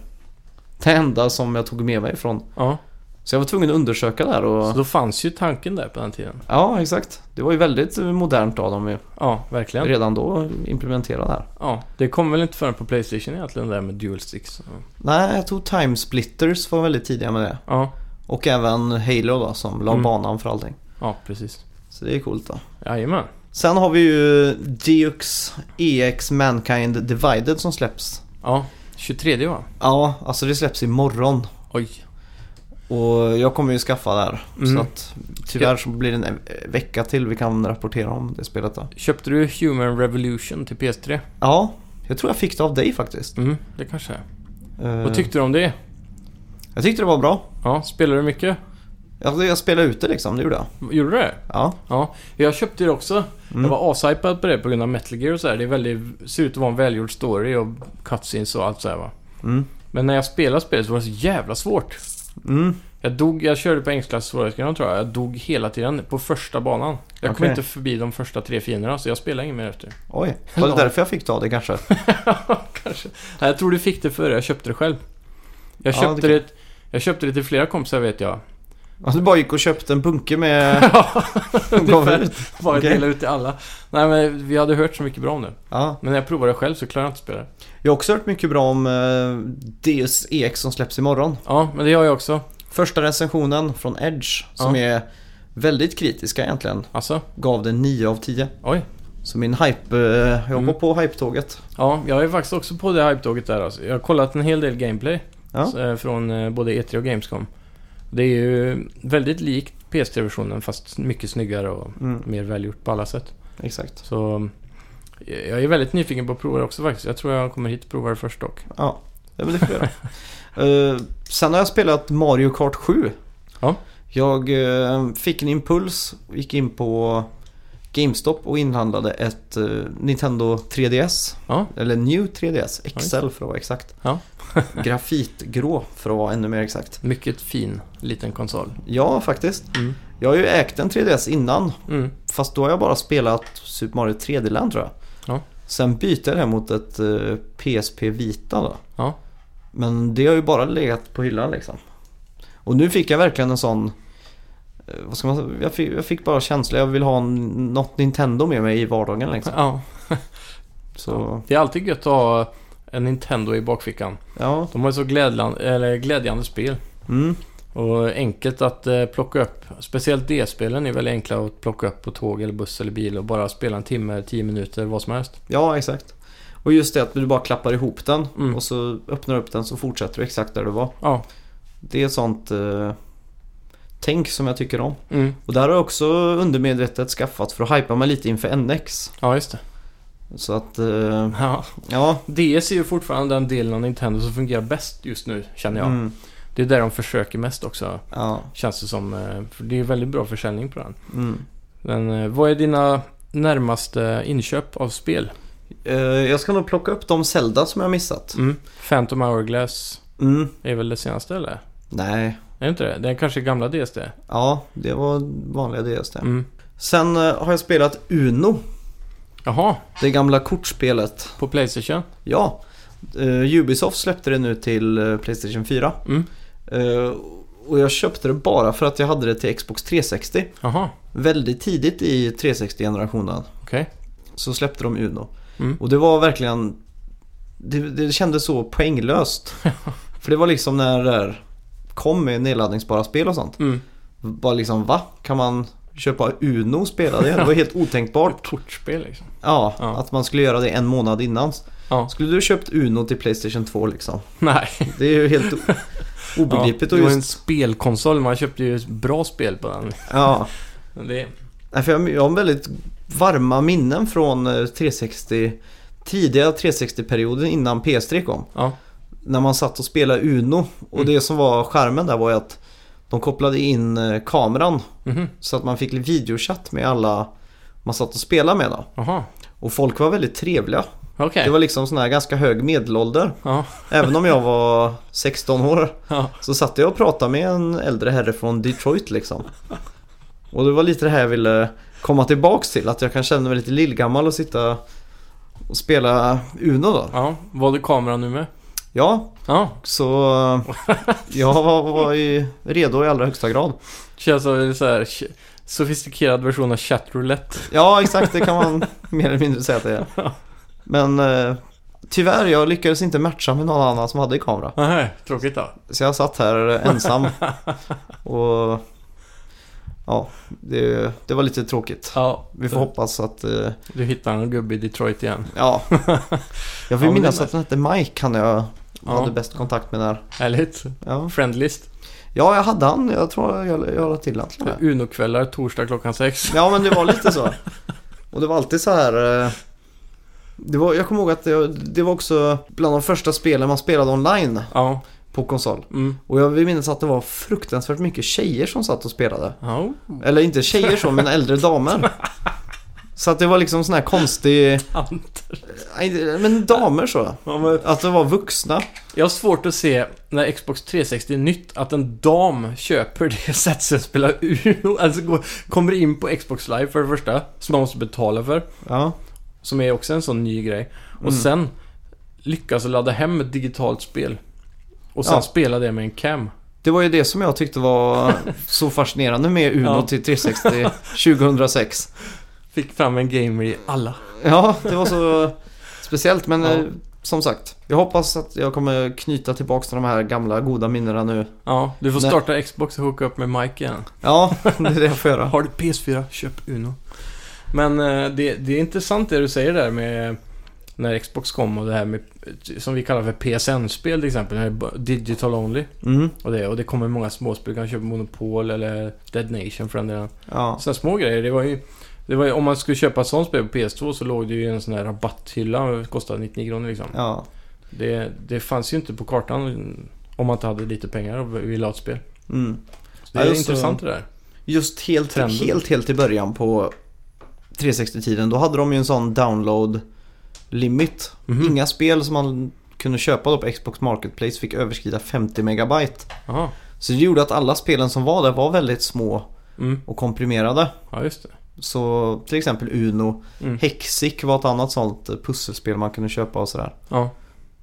S1: det enda som jag tog med mig från.
S2: Ja.
S1: Så jag var tvungen att undersöka det här
S2: Så
S1: och...
S2: då fanns ju tanken där på den tiden.
S1: Ja, exakt. Det var ju väldigt modernt av dem ju.
S2: Ja, verkligen.
S1: Redan då implementera det här.
S2: Ja, det kom väl inte förrän på Playstation egentligen, det där med dual sticks.
S1: Nej, jag tror Time Splitters var väldigt tidiga med det.
S2: Ja,
S1: Och även Halo då som la
S2: Mm.
S1: banan för allting.
S2: ja precis.
S1: Så det är coolt då.
S2: Jajamän.
S1: Sen har vi ju Deus EX Mankind Divided som släpps.
S2: Ja, 23 va?
S1: Ja, alltså det släpps imorgon.
S2: Oj.
S1: Och jag kommer ju skaffa det här.
S2: Mm.
S1: Så att tyvärr så blir det en eh, vecka till vi kan rapportera om det spelet då.
S2: Köpte du Human Revolution till PS3?
S1: Ja, jag tror jag fick det av dig faktiskt.
S2: Mm, det kanske är.
S1: Eh,
S2: Vad tyckte du om det?
S1: Jag tyckte det var bra.
S2: Ja, spelade du mycket?
S1: Jag, jag spelade ut det liksom, det gjorde jag.
S2: Gjorde du det?
S1: Ja.
S2: Ja, jag köpte det också.
S1: Mm.
S2: Jag var ashypad på det på grund av Metal Gear och så här. Det är väldigt, ser ut att vara en välgjord story och cutscenes och allt så här va.
S1: Mm.
S2: Men när jag spelade spelet så var det så jävla svårt.
S1: Mm.
S2: Jag dog, jag körde på enklaste svårighetsgraden tror jag. Jag dog hela tiden på första banan. Jag kom
S1: Okej.
S2: inte förbi de första tre fienderna så jag spelade inget mer efter.
S1: Oj, var det
S2: Ja.
S1: därför jag fick ta det kanske?
S2: Kanske. Nej, jag tror du fick det före jag köpte det själv. Jag
S1: Ja,
S2: köpte,
S1: det
S2: det, jag köpte det till flera kompisar vet jag.
S1: Alltså, du bara gick och köpte en bunke med... gav
S2: Ungefär.
S1: ut.
S2: Bara
S1: Okej.
S2: dela ut till alla. Nej men vi hade hört så mycket bra om det.
S1: Ja.
S2: Men när jag provade det själv så klarade jag inte spela det.
S1: Jag har också hört mycket bra om eh, Deus EX som släpps imorgon.
S2: Ja, men det gör jag också.
S1: Första recensionen från Edge som är väldigt kritiska egentligen
S2: Alltså,
S1: gav det 9 av 10.
S2: oj.
S1: Så min hype, eh, jag
S2: Mm.
S1: var på hype-tåget.
S2: Ja, jag är faktiskt också på det hype-tåget där alltså. Jag har kollat en hel del gameplay.
S1: Ja.
S2: Så, eh, Från eh, både E3 och Gamescom. Det är ju väldigt likt PS3-versionen fast mycket snyggare och
S1: Mm,
S2: mer välgjort på alla sätt.
S1: exakt.
S2: Så eh, jag är väldigt nyfiken på att prova det också faktiskt. Jag tror jag kommer hit och provar det först dock.
S1: Ja, det vill jag göra. Eh, sen har jag spelat Mario Kart 7.
S2: Ja.
S1: Jag eh, fick en impuls, gick in på GameStop och inhandlade ett eh, Nintendo 3DS.
S2: Ja.
S1: Eller New 3DS, XL för att vara exakt.
S2: Ja.
S1: Grafitgrå för att vara ännu mer exakt.
S2: Mycket fin liten konsol.
S1: Ja, faktiskt.
S2: Mm.
S1: Jag har ju ägt en 3DS innan.
S2: Mm.
S1: Fast då har jag bara spelat Super Mario 3D Land tror jag.
S2: Ja.
S1: Sen bytte jag det mot ett eh, PSP Vita då.
S2: Ja.
S1: Men det har ju bara legat på hyllan liksom. Och nu fick jag verkligen en sån... eh, Vad ska man säga? Jag fick, jag fick bara känsla. Jag vill ha en, något Nintendo med mig i vardagen liksom.
S2: Ja.
S1: Så
S2: Det är alltid gött att ha en Nintendo i bakfickan.
S1: ja.
S2: De har ju så glädjande, eller glädjande spel.
S1: Mm.
S2: Och enkelt att eh, plocka upp. Speciellt D-spelen är väldigt enkla att plocka upp på tåg eller buss eller bil och bara spela en timme, tio minuter, vad som helst.
S1: ja, exakt. Och just det att du bara klappar ihop den
S2: Mm.
S1: och så öppnar du upp den så fortsätter du exakt där du var.
S2: Ja.
S1: Det är ett sånt eh, tänk som jag tycker om.
S2: Mm.
S1: Och där har jag också undermedvetet skaffat för att hypa mig lite inför NX.
S2: Ja, just det.
S1: Så att, eh,
S2: Ja.
S1: ja.
S2: DS är ju fortfarande den delen av Nintendo som fungerar bäst just nu, känner jag.
S1: Mm,
S2: Det är där de försöker mest också,
S1: ja.
S2: känns det som. eh, För det är väldigt bra försäljning på den.
S1: Mm.
S2: Men eh, vad är dina närmaste inköp av spel?
S1: Eh, jag ska nog plocka upp de Zelda som jag missat.
S2: Mm. Phantom Hourglass
S1: Mm.
S2: är väl det senaste eller?
S1: Nej,
S2: Är det inte det? Det är kanske gamla DS det?
S1: ja det var vanliga DS det.
S2: Mm.
S1: Sen eh, har jag spelat Uno,
S2: Jaha,
S1: det gamla kortspelet.
S2: på Playstation?
S1: Ja, eh, Ubisoft släppte det nu till eh, Playstation 4.
S2: Mm.
S1: Eh, och jag köpte det bara för att jag hade det till Xbox 360.
S2: Jaha,
S1: Väldigt tidigt i 360-generationen
S2: okej.
S1: så släppte de Uno.
S2: Mm.
S1: Och det var verkligen... Det, det kändes så poänglöst. För det var liksom när det där kom med nedladdningsbara spel och sånt.
S2: Mm.
S1: Bara liksom va? Kan man köpa Uno och spela det. Det var helt otänkbart.
S2: Ett kortspel liksom.
S1: Ja,
S2: Ja.
S1: att man skulle göra det en månad innan.
S2: Ja.
S1: Skulle du köpt Uno till Playstation 2 liksom?
S2: Nej.
S1: Det är ju helt o- obegripligt.
S2: Ja,
S1: och
S2: det var
S1: just,
S2: en spelkonsol. Man köpte ju ett bra spel på den.
S1: ja.
S2: Men Det,
S1: Nej, för jag, jag har väldigt varma minnen från eh, 360 Tidiga 360-perioden innan PS3 kom.
S2: ja.
S1: När man satt och spelade Uno. Och
S2: Mm.
S1: det som var skärmen där var ju att de kopplade in eh, kameran
S2: Mhm.
S1: så att man fick videochatt med alla man satt och spelade med. Då.
S2: Jaha.
S1: Och folk var väldigt trevliga.
S2: Okej.
S1: Det var liksom sån här ganska hög medelålder.
S2: Ja.
S1: Även om jag var 16 år
S2: Ja.
S1: så satt jag och pratade med en äldre herre från Detroit liksom. Och det var lite det här jag ville komma tillbaks till. Att jag kan känna mig lite lillgammal och sitta och spela Uno då.
S2: ja. Var det kameran nu med?
S1: Ja,
S2: Ja.
S1: så eh, jag var, var ju redo i allra högsta grad.
S2: Känns som en så här ch- sofistikerad version av chatroulette.
S1: Ja, exakt. Det kan man mer eller mindre säga att det är. Men eh, tyvärr, jag lyckades inte matcha med någon annan som hade kamera.
S2: Nej, Ah, tråkigt då.
S1: Så jag satt här ensam och ja, det, det var lite tråkigt.
S2: Ja.
S1: Vi får hoppas att, eh,
S2: Du hittar en gubbe i Detroit igen.
S1: ja. Jag
S2: men
S1: vill
S2: det
S1: minnas
S2: är
S1: att den hette Mike, han jag hade
S2: Ja.
S1: bäst kontakt med där.
S2: Härligt.
S1: Ja.
S2: Friendlist.
S1: ja, jag hade han. Jag tror jag, jag la till han till och med.
S2: Uno-kvällar torsdag klockan sex.
S1: Ja, men det var lite så. Och det var alltid så här. eh, Det var, jag kommer ihåg att det, det var också bland de första spelen man spelade online
S2: Ja.
S1: på konsol.
S2: Mm.
S1: Och jag vill minnas att det var fruktansvärt mycket tjejer som satt och spelade.
S2: Ja.
S1: Eller inte tjejer så, men äldre damer. Så att det var liksom sån här konstig...
S2: Tant.
S1: Nej, det- Men damer så.
S2: Ja, men-
S1: Att det var vuxna.
S2: Jag har svårt att se när Xbox 360 är nytt att en dam köper det sättet att spela Uno. Alltså går, kommer in på Xbox Live för det första. Som man måste betala för.
S1: Ja.
S2: Som är också en sån ny grej. Och sen lyckas ladda hem ett digitalt spel. Och sen
S1: Ja.
S2: spela det med en cam.
S1: Det var ju det som jag tyckte var så fascinerande med Uno
S2: Ja.
S1: till 360 2006.
S2: Fick fram en gamer i alla.
S1: Ja, det var så speciellt. Men
S2: Ja.
S1: eh, som sagt, jag hoppas att jag kommer knyta tillbaka till de här gamla goda minnena nu.
S2: Ja, du får
S1: Nej.
S2: starta Xbox och hooka upp med Mike igen.
S1: Ja, det är det jag får göra.
S2: Har du PS4, köp Uno. Men eh, det, det är intressant det du säger där med när Xbox kom och det här med som vi kallar för PSN-spel till exempel. det här b- Digital only.
S1: Mm.
S2: Och det, och det kommer många småspel. Du kan köpa Monopol eller Dead Nation för den delen.
S1: Ja.
S2: Sådana små grejer. Det var ju, det var ju, om man skulle köpa ett sånt spel på PS2 så låg det ju en sån här rabatthylla. Det kostade 99 kronor liksom.
S1: ja.
S2: Det, det fanns ju inte på kartan om man inte hade lite pengar och ville ha ett spel.
S1: Mm.
S2: Så det är
S1: Ja, just
S2: intressant det där.
S1: Just helt,
S2: Trenden.
S1: helt, helt i början på 360-tiden, då hade de ju en sån download limit.
S2: Mhm.
S1: Inga spel som man kunde köpa då på Xbox Marketplace fick överskrida 50 megabyte.
S2: Jaha.
S1: Så det gjorde att alla spelen som var där var väldigt små
S2: Mm.
S1: och komprimerade.
S2: Ja, just det.
S1: Så till exempel Uno,
S2: Mm.
S1: Hexic var ett annat sånt pusselspel man kunde köpa och sådär.
S2: Ja.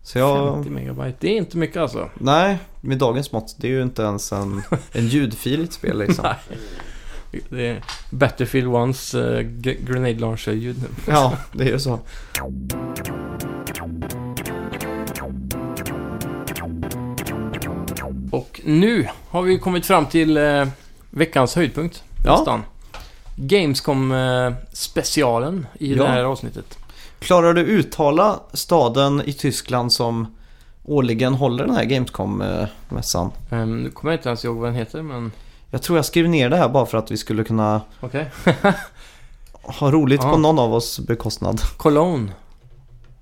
S1: Så jag,
S2: 50 megabyte, det är inte mycket alltså.
S1: nej, med dagens mått, det är ju inte ens en, en ljudfil i ett spel liksom.
S2: Nej. Det är Battlefield 1s eh, g- Grenade Launcher-ljud nu.
S1: Ja, det är ju så.
S2: Och nu har vi kommit fram till eh, veckans höjdpunkt.
S1: Ja.
S2: Nästan. Gamescom-specialen i
S1: Ja.
S2: det här avsnittet.
S1: Klarar du uttala staden i Tyskland som årligen håller den här Gamescom-mässan?
S2: Ehm, nu kommer jag inte ens ihåg vad den heter, men
S1: Jag tror jag skrev ner det här bara för att vi skulle kunna
S2: okej.
S1: ha roligt
S2: Ja.
S1: på någon av oss bekostnad.
S2: Cologne.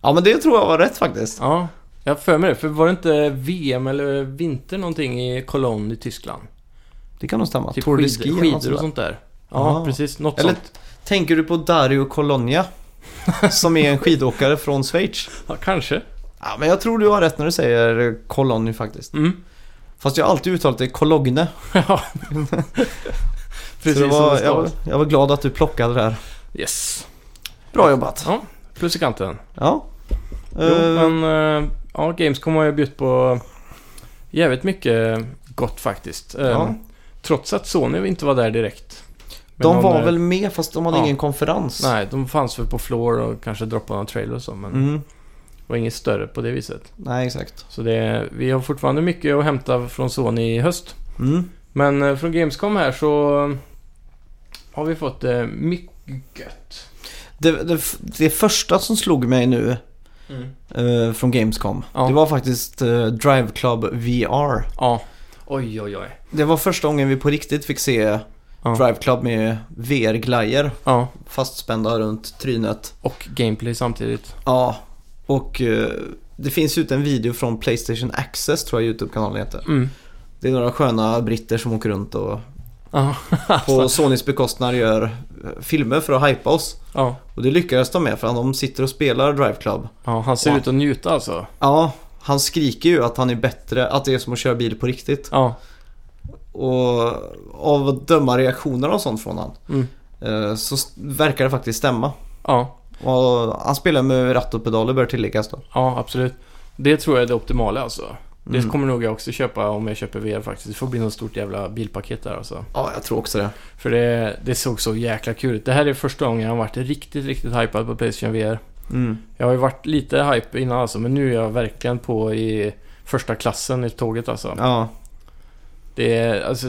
S1: Ja men det tror jag var rätt faktiskt.
S2: Ja, jag har för mig det. För var det inte VM eller vinter någonting i Cologne i Tyskland?
S1: Det kan nog stämma.
S2: Typ
S1: Tour de
S2: skid-
S1: Ski eller något
S2: skidor
S1: sånt där.
S2: och sånt där. Ja,
S1: Aha.
S2: precis. Något
S1: Eller
S2: sånt.
S1: tänker du på Dario Colonia? som är en skidåkare från Schweiz.
S2: Ja, kanske.
S1: Ja men jag tror du har rätt när du säger Cologne faktiskt.
S2: Mm.
S1: Fast jag har alltid uttalat det Cologne.
S2: Ja.
S1: Så
S2: Precis
S1: det var,
S2: som det står.
S1: jag, var- jag var glad att du plockade det här.
S2: Yes.
S1: Bra jobbat.
S2: Ja, plus i kanten.
S1: Ja.
S2: Jo,
S1: Eh,
S2: men eh, ja, Gamescom har ju bjudit på jävligt mycket gott faktiskt. Eh,
S1: Ja.
S2: Trots att Sony inte var där direkt. Men
S1: De
S2: någon,
S1: var
S2: eh,
S1: väl med fast de hade
S2: ja.
S1: ingen konferens.
S2: Nej, de fanns väl på Floor och kanske droppade någon trailer och så, men
S1: Mm.
S2: det var inget större på det viset.
S1: Nej, exakt.
S2: Så det, vi har fortfarande mycket att hämta från Sony i höst.
S1: Mm.
S2: Men eh, från Gamescom här så eh, har vi fått eh, mycket gött.
S1: Det, det, det första som slog mig nu
S2: Mm.
S1: eh, från Gamescom,
S2: Ja.
S1: det var faktiskt eh, Drive Club VR.
S2: Ja. Oj, oj, oj.
S1: Det var första gången vi på riktigt fick se
S2: Ja.
S1: Drive Club med VR-glajjor
S2: Ja.
S1: fastspända runt trynet.
S2: Och gameplay samtidigt.
S1: Ja, och eh, det finns ute en video från Playstation Access tror jag YouTube-kanalen heter.
S2: Mm.
S1: Det är några sköna britter som åker runt och
S2: Ja.
S1: på Sonys bekostnad gör eh, filmer för att hypa oss.
S2: ja.
S1: Och det lyckades de med för att de sitter och spelar Drive Club.
S2: ja, han ser
S1: Ja.
S2: ut att njuta alltså.
S1: Ja, han skriker ju att han är bättre, att det är som att köra bil på riktigt.
S2: Ja.
S1: Och av att döma reaktioner och sånt från han
S2: Mm.
S1: eh, så s- verkar det faktiskt stämma.
S2: Ja.
S1: Och han spelar med ratt och pedaler bör tilläggas då.
S2: ja, absolut. Det tror jag är det optimala alltså. Det
S1: Mm.
S2: kommer nog jag också köpa om jag köper VR faktiskt. Det får bli något stort jävla bilpaket där alltså.
S1: Ja, jag tror också det.
S2: För det, det såg så jäkla kul ut. Det här är första gången jag har varit riktigt, riktigt hypad på Playstation VR.
S1: Mm.
S2: Jag har ju varit lite hype innan alltså, men nu är jag verkligen på i första klassen i tåget alltså.
S1: Ja,
S2: Det är, alltså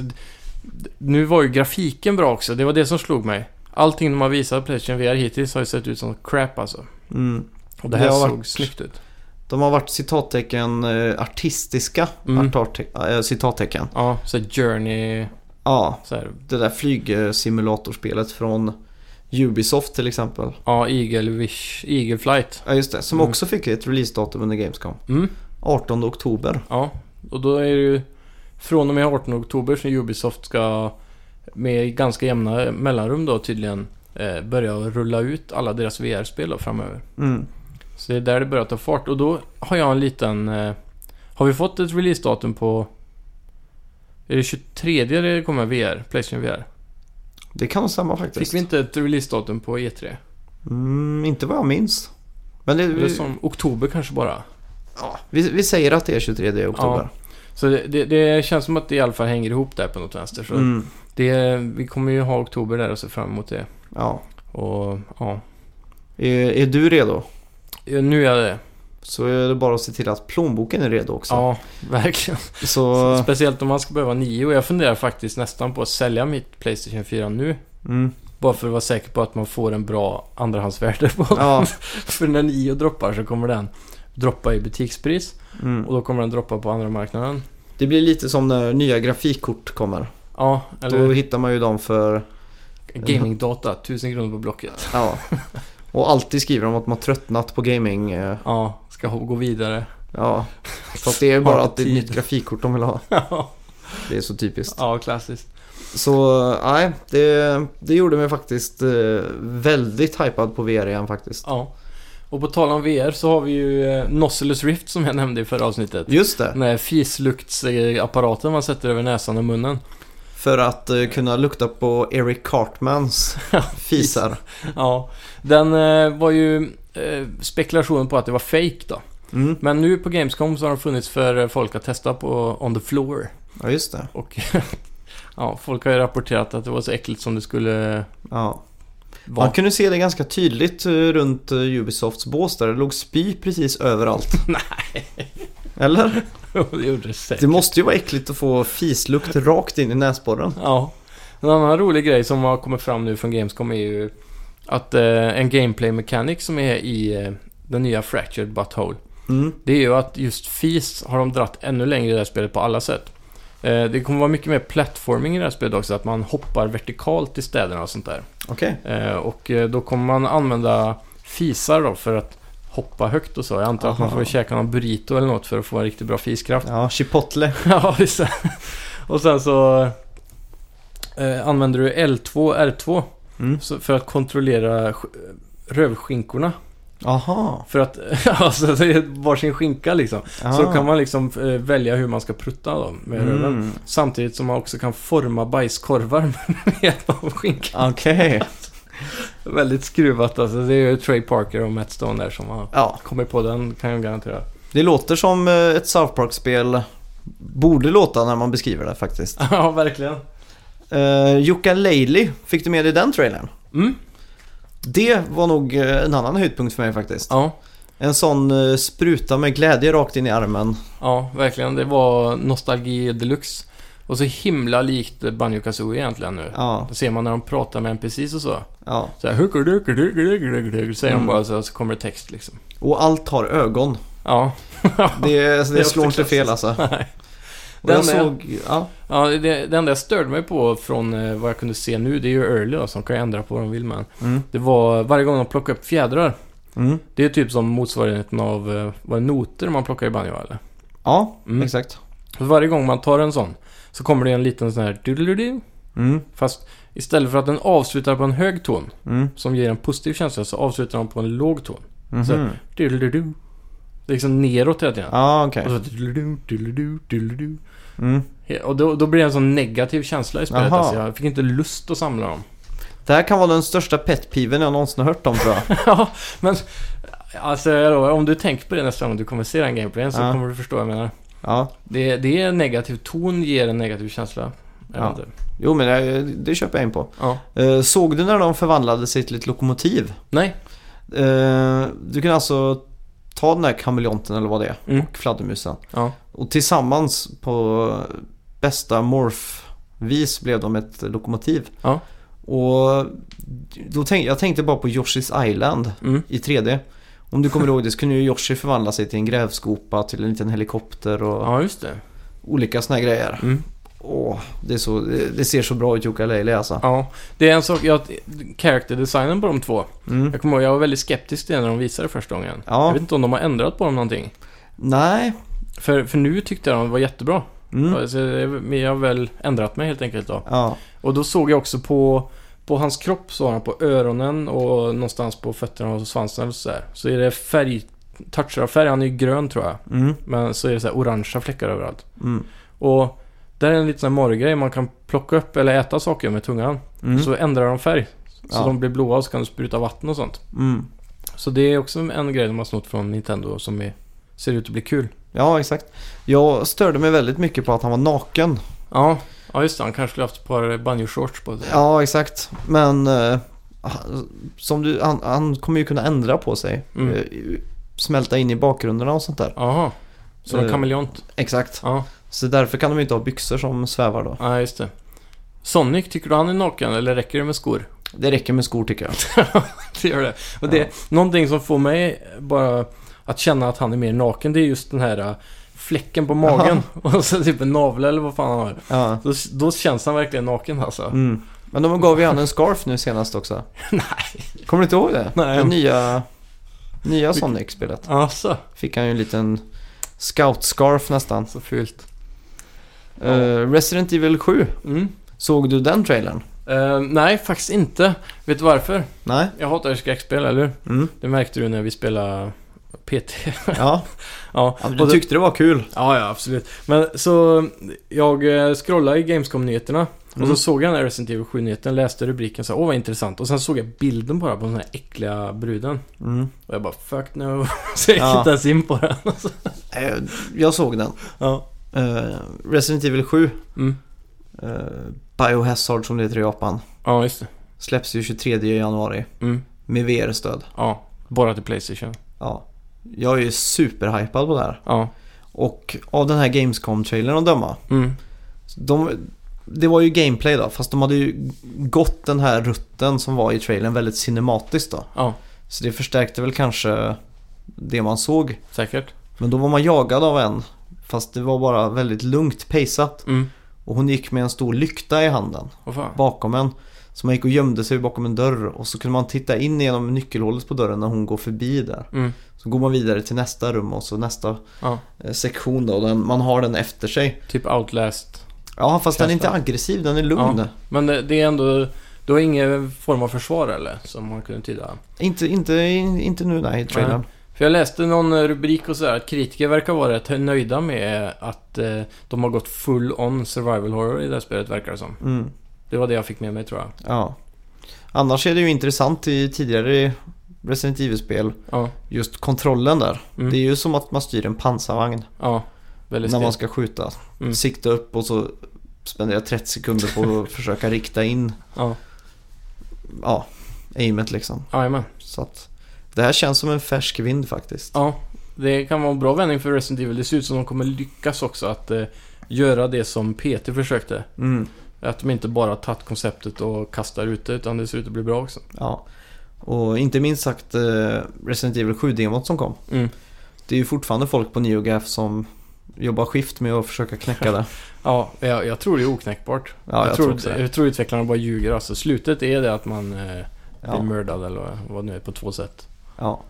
S2: d- nu var ju grafiken bra också, det var det som slog mig. Allting de har visat på Playstation VR hittills har ju sett ut som crap alltså.
S1: mm.
S2: Och det
S1: Det
S2: här
S1: har
S2: såg
S1: varit-
S2: snyggt ut.
S1: De har varit citattecken eh, artistiska
S2: Mm.
S1: artarte- eh, citattecken.
S2: Ja, så här Journey,
S1: Ja,
S2: så här,
S1: det där flygsimulatorspelet från Ubisoft till exempel.
S2: ja, Eagle Wish, Eagle Flight.
S1: Ja just det, som
S2: Mm.
S1: också fick ett releasedatum under Gamescom.
S2: Mm,
S1: 18 oktober.
S2: ja. Och då är det ju från och med 18 oktober som Ubisoft ska med ganska jämna mellanrum då tydligen eh, börja rulla ut alla deras VR-spel då framöver.
S1: Mm.
S2: Så det är där det börjar ta fart och då har jag en liten... Eh, har vi fått ett releasedatum på... Är det 23 det kommer VR? Playstation VR?
S1: Det kan stämma faktiskt.
S2: Fick vi inte ett releasedatum på E E3?
S1: Mm, inte vad jag minns. Men det,
S2: Eller
S1: vi,
S2: som oktober kanske bara?
S1: ja, vi, vi säger att det är 23 oktober.
S2: Så det, det, det känns som att det i alla fall hänger ihop där på något vänster. Så
S1: Mm.
S2: det, vi kommer ju ha oktober där och se fram emot det.
S1: Ja.
S2: Och ja,
S1: Är, är du redo?
S2: Ja, nu är jag det.
S1: Så är det bara att se till att plånboken är redo också.
S2: Ja, verkligen.
S1: Så,
S2: Speciellt om man ska behöva nio. Och jag funderar faktiskt nästan på att sälja mitt Playstation 4 nu.
S1: mm.
S2: Bara för att vara säker på att man får en bra andrahandsvärde på den.
S1: Ja.
S2: För när Nio droppar så kommer den droppa i butikspris
S1: Mm.
S2: och då kommer den droppa på andra marknaden.
S1: Det blir lite som när nya grafikkort kommer.
S2: Ja,
S1: Då
S2: eller
S1: hittar man ju dem för,
S2: gamingdata, 1000 kronor på Blocket.
S1: ja. Och alltid skriver de att man tröttnat på gaming. eh,
S2: Ja, ska ho- gå vidare.
S1: Ja. Fast det är ju bara
S2: Har
S1: att det är ett
S2: tid.
S1: nytt grafikkort de vill ha. Det är så typiskt.
S2: ja, klassiskt.
S1: Så nej, det, det gjorde mig faktiskt eh, väldigt hypad på VR igen faktiskt.
S2: Ja. Och på tal om VR så har vi ju eh, Noceless Rift som jag nämnde i förra avsnittet.
S1: Just det,
S2: Den här fisluktsapparaten man sätter över näsan och munnen.
S1: för att eh, kunna lukta på Eric Cartmans fisar.
S2: Ja, den eh, var ju eh, spekulationen på att det var fake då.
S1: Mm.
S2: Men nu på Gamescom så har de funnits för eh, folk att testa på on the floor.
S1: Ja, just det.
S2: Och ja, folk har ju rapporterat att det var så äckligt som det skulle eh,
S1: Ja. Man
S2: vara.
S1: kunde se det ganska tydligt eh, runt eh, Ubisofts bås där. Det låg spy precis överallt. Nej. Eller?
S2: Och det gjorde det säkert.
S1: Det måste ju vara äckligt att få fislukt rakt in i näsborren.
S2: Ja. En annan rolig grej som har kommit fram nu från Gamescom är ju att eh, en gameplay mechanic som är i eh, den nya Fractured Butthole.
S1: Mm.
S2: Det är ju att just FIS har de dratt ännu längre i det här spelet på alla sätt. Eh, det kommer vara mycket mer platforming i det här spelet också, att man hoppar vertikalt i städerna och sånt där.
S1: Okej.
S2: Eh, Och eh, då kommer man använda fisar då för att hoppa högt och så. Jag antar att man
S1: Aha.
S2: får käka någon burrito eller något för att få en riktigt bra fiskraft.
S1: Ja, chipotle.
S2: Ja, just det. Och sen så eh, använder du L2, R2
S1: Mm.
S2: så- för att kontrollera sk- rövskinkorna.
S1: Aha.
S2: För att, alltså det är varsin skinka liksom. Så kan man liksom eh, välja hur man ska prutta då med röven.
S1: Ah. Mm.
S2: Samtidigt som man också kan forma bajskorvar med hjälp av skinkan.
S1: Okej.
S2: Väldigt skruvat alltså. Det är ju Trey Parker och Matt Stone där som har
S1: Ja,
S2: kommit på den, kan jag garantera.
S1: det låter som eh, ett South Park-spel borde låta när man beskriver det faktiskt.
S2: ja, verkligen.
S1: Uh, Jukka Leili, fick du med dig den trailern?
S2: Mm.
S1: Det var nog eh, en annan höjdpunkt för mig faktiskt.
S2: Ja,
S1: En sån eh, spruta med glädje rakt in i armen.
S2: ja, verkligen. Det var nostalgi deluxe. Och Och så himla likt Banjo Kazooie egentligen nu.
S1: Ja,
S2: Det ser man när de pratar med NPCs och så.
S1: ja.
S2: Så här, "Hukur, dukur, dukur, dukur, dukur, dukur", säger
S1: Mm.
S2: de bara så, här, så kommer det text liksom.
S1: Och allt har ögon.
S2: Ja.
S1: Det, alltså, det,
S2: Det är
S1: slår
S2: också
S1: inte fel alltså. Och
S2: Den
S1: jag
S2: är-
S1: såg, ja,
S2: ja det, det enda jag störde mig på från eh, vad jag kunde se nu, det är ju early då, som kan ju ändra på vad de vill men.
S1: mm,
S2: Det var varje gång de plockade upp fjädrar.
S1: mm.
S2: Det är typ som motsvarigheten av eh, vad är noter man plockar i banjo eller?
S1: ja
S2: Mm.
S1: exakt.
S2: Så varje gång man tar en sån så kommer det en liten sån här dudeludu.
S1: Mm,
S2: Fast istället för att den avslutar på en hög ton
S1: mm,
S2: som ger en positiv känsla så avslutar den på en låg ton.
S1: mhm.
S2: Så här. Dudeludu. Det är liksom neråt hela tiden.
S1: Ja, Ah, okej.
S2: Och så dudeludu, dudeludu, dudeludu.
S1: Mm.
S2: He- Och då, då blir det en sån negativ känsla i spelet.
S1: Jaha.
S2: Alltså, jag fick inte lust att samla dem.
S1: Det här kan vara den största petpiven jag någonsin har hört om tror jag.
S2: ja, men alltså då, om du tänker på det nästa gång du kommer se den gameplayen så
S1: Ja.
S2: kommer du förstå vad jag menar.
S1: Ja.
S2: Det, det är en negativ ton ger en negativ känsla. Jag
S1: Ja.
S2: vet inte.
S1: Jo, men det, det köper jag in på.
S2: ja.
S1: Eh, Såg du när de förvandlade sig till ett lokomotiv?
S2: Nej.
S1: Eh, Du kan alltså ta den här kameleonten eller vad det är
S2: Mm.
S1: och fladdermusen.
S2: Ja.
S1: Och tillsammans på bästa morph-vis blev de ett lokomotiv.
S2: Ja.
S1: Och då tänkte, jag tänkte bara på Yoshi's Island
S2: Mm.
S1: i 3D. Om du kommer ihåg det så kunde ju Yoshi förvandla sig till en grävskopa, till en liten helikopter och
S2: Ja, just det.
S1: olika såna här grejer.
S2: Mm.
S1: Åh, det, är så, det, det ser så bra ut Jukka Leili alltså.
S2: Ja, det är en sak. Jag, character-designen på de två.
S1: Mm.
S2: Jag kommer ihåg, jag var väldigt skeptisk till det när de visade det första gången. Jag
S1: Ja,
S2: vet inte om de har ändrat på dem någonting.
S1: nej.
S2: För, för nu tyckte jag de var jättebra.
S1: Mm.
S2: Alltså, men jag har väl ändrat mig helt enkelt då.
S1: Ja,
S2: Och då såg jag också på, på hans kropp så har han på öronen och någonstans på fötterna och svansen och sådär. Så är det färg, touchar av färg. Han är ju grön tror jag.
S1: mm.
S2: Men så är det så här orangea fläckar överallt.
S1: Mm.
S2: Och där är en liten sån här morrgrej. Man kan plocka upp eller äta saker med tungan.
S1: Mm.
S2: Så ändrar de färg. Så
S1: Ja.
S2: de blir blåa och så kan du spruta vatten och sånt.
S1: Mm.
S2: Så det är också en grej de har snott från Nintendo som är, ser ut att bli kul.
S1: Ja, exakt. Jag störde mig väldigt mycket på att han var naken.
S2: Ja, ja just det. Han kanske skulle haft ett par banjo-shorts på sig.
S1: Ja, exakt. Men eh, han- som du, han, han kommer ju kunna ändra på sig.
S2: Mm.
S1: Eh, Smälta in i bakgrunderna och sånt där.
S2: Jaha. Så de
S1: Eh.
S2: kameleont.
S1: Exakt.
S2: Ja.
S1: Så därför kan de ju inte ha byxor som svävar då.
S2: Ja, just det. Sonic, tycker du han är naken eller räcker det med skor?
S1: Det räcker med skor tycker jag.
S2: det gör det. Och det,
S1: Ja.
S2: någonting som får mig bara att känna att han är mer naken, det är just den här äh, fläcken på magen. Och så typ en navle eller vad fan han har.
S1: Ja.
S2: Då, då känns han verkligen naken alltså.
S1: Mm. Men de gav ju han en scarf nu senast också. Nej. Kommer du inte ihåg det?
S2: Nej.
S1: Det nya, nya Sonic-spelet.
S2: Alltså,
S1: Fick han ju en liten scout-scarf nästan.
S2: så fult. Ja.
S1: Eh, Resident Evil 7,
S2: Mm.
S1: såg du den trailern?
S2: Eh, nej, faktiskt inte. Vet du varför?
S1: Nej.
S2: Jag hatar skräckspel, eller hur?
S1: Mm.
S2: Det märkte du när vi spelade PT.
S1: Ja,
S2: ja,
S1: ja,
S2: och
S1: du
S2: då-
S1: tyckte det var kul.
S2: Ja, ja, absolut. Men så jag eh, scrollade i Gamescom-nyheterna och
S1: Mm.
S2: så såg jag den här Resident Evil 7-nyheten, läste rubriken så här, åh vad intressant. Och sen såg jag bilden bara på den här äckliga bruden.
S1: Mm.
S2: Och jag bara, fuck no. Så jag gick
S1: Ja.
S2: inte ens in på den.
S1: Eh, Jag såg den.
S2: ja.
S1: Eh, Resident Evil 7,
S2: Mm.
S1: eh, Biohazard som det heter i Japan,
S2: ja, just det.
S1: släpps ju 23 januari
S2: Mm.
S1: med VR-stöd.
S2: Ja, bara till Playstation.
S1: Ja. Jag är ju superhypad på det här.
S2: Ja.
S1: Och av den här Gamescom-trailern att döma.
S2: Mm.
S1: De, det var ju gameplay då, fast de hade ju gått den här rutten som var i trailern väldigt cinematiskt då.
S2: Ja,
S1: Så det förstärkte väl kanske det man såg.
S2: säkert.
S1: Men då var man jagad av en. Fast det var bara väldigt lugnt paceat.
S2: Mm.
S1: Och hon gick med en stor lykta i handen
S2: Vad fan.
S1: bakom en. Så man gick och gömde sig bakom en dörr och så kunde man titta in genom nyckelhålet på dörren när hon går förbi där.
S2: Mm.
S1: Så går man vidare till nästa rum och så nästa
S2: Ja.
S1: eh, sektion då. och Den, man har den efter sig.
S2: Typ Outlast.
S1: Ja fast den är inte
S2: Känslan.
S1: aggressiv, den är lugn.
S2: Men det, det är ändå, du har ingen form av försvar eller? Som man kunde tyda.
S1: Inte, inte, inte nu nej i trailern.
S2: För jag läste någon eh, rubrik och sådär att kritiker verkar vara rätt nöjda med att eh, de har gått full on survival horror i det här spelet verkar det som.
S1: Mm,
S2: Det var det jag fick med mig tror jag.
S1: ja. Annars är det ju intressant i tidigare Resident Evil-spel.
S2: Ja,
S1: Just kontrollen där.
S2: Mm.
S1: Det är ju som att man styr en pansarvagn
S2: ja. Väldigt
S1: när man
S2: stilt.
S1: ska skjuta.
S2: Mm.
S1: Sikta upp och så spenderar 30 sekunder på att försöka rikta in
S2: Ja,
S1: ja, aimet liksom.
S2: jajamän.
S1: Så att det här känns som en färsk vind faktiskt.
S2: Ja, det kan vara en bra vändning för Resident Evil. Det ser ut som de kommer lyckas också att eh, göra det som PT försökte.
S1: Mm.
S2: Att de inte bara tagit konceptet och kastar ut det, utan det ser ut att bli bra också.
S1: Ja. Och inte minst sagt eh, Resident Evil 7-demot som kom.
S2: Mm.
S1: Det är ju fortfarande folk på NeoGaf som jobbar skift med att försöka knäcka det.
S2: Ja, jag, jag tror det är oknäckbart.
S1: Ja, jag, tror också det.
S2: jag tror utvecklarna bara ljuger. Alltså, slutet är det att man eh, blir
S1: Ja.
S2: mördad eller vad det nu är, på två sätt.
S1: Ja.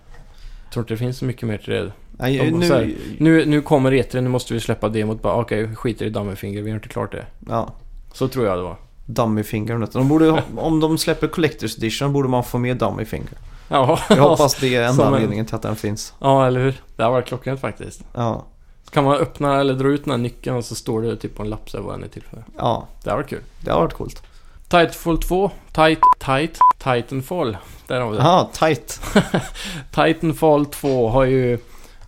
S2: Jag tror inte det finns så mycket mer till det.
S1: Nej,
S2: De- så här,
S1: nu...
S2: Nu, nu kommer E3, nu måste vi släppa demot. Bara, Okej, vi skiter i Dummerfinger, vi har inte klart det.
S1: Ja.
S2: Så tror jag det var.
S1: Dummy finger. vet du. De borde, ha- om de släpper Collector's Edition borde man få med Dummy finger.
S2: Ja,
S1: Jag hoppas det är enda
S2: Som en-
S1: anledningen till att den finns.
S2: ja eller hur? Det här var klockrent faktiskt.
S1: Ja.
S2: Så kan man öppna eller dra ut den här nyckeln och så står det typ på en lapp så här vad den är till för.
S1: Ja.
S2: Det här var kul.
S1: Det har varit coolt.
S2: Titanfall 2, Tight, Tight, Titanfall. Där har vi det.
S1: Aha, tight.
S2: Titanfall 2 har ju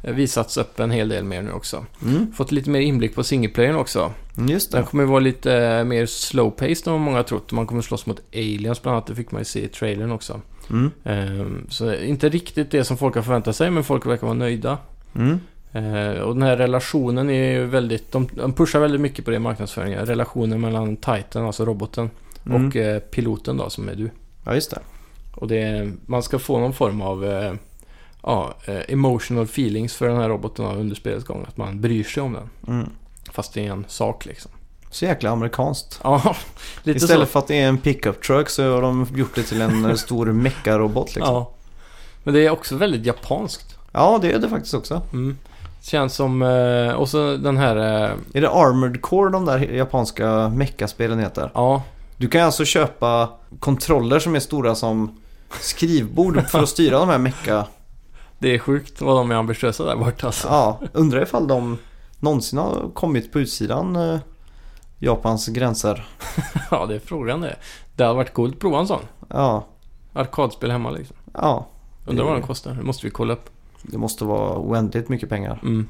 S2: visats upp en hel del mer nu också.
S1: Mm.
S2: Fått lite mer inblick på singleplayern också.
S1: Just
S2: Den
S1: det.
S2: kommer ju vara lite eh, mer slow-paced än vad många har trott. Man kommer slåss mot aliens bland annat. Det fick man ju se i trailern också.
S1: Mm.
S2: Ehm, Så inte riktigt det som folk har förväntat sig, men folk verkar vara nöjda.
S1: Mm.
S2: Eh, Och den här relationen är ju väldigt... De de pushar väldigt mycket på det i marknadsföringen. Relationen mellan Titan, alltså roboten,
S1: Mm.
S2: och eh, piloten då, som är du.
S1: Ja, just det.
S2: Och det är, man ska få någon form av eh, ja, eh, emotional feelings för den här roboten då under spelets gång. Att man bryr sig om den.
S1: Mm.
S2: Fast det är en sak liksom.
S1: Så jäkla amerikanskt.
S2: Ja, lite
S1: Istället
S2: så.
S1: för att det är en pickup truck så har de gjort det till en eh, stor meckarobot liksom. Ja.
S2: Ja. Men det är också väldigt japanskt.
S1: det är det faktiskt också.
S2: Mm. Känns som... Eh, och så den här... Eh,
S1: Är det Armored Core de där japanska meckaspelen heter?
S2: ja,
S1: Du kan alltså köpa kontroller som är stora som skrivbord för att styra de här mecka.
S2: det är sjukt vad de är ambitiösa där borta alltså.
S1: Ja, undrar ifall de någonsin har kommit på utsidan eh, Japans gränser.
S2: Ja, det är frågan det. Det hade varit coolt att prova en sån.
S1: Ja,
S2: Arkadspel hemma liksom.
S1: ja.
S2: Undrar vad den kostar. Det måste vi kolla upp.
S1: Det måste vara oändligt mycket pengar.
S2: Mm.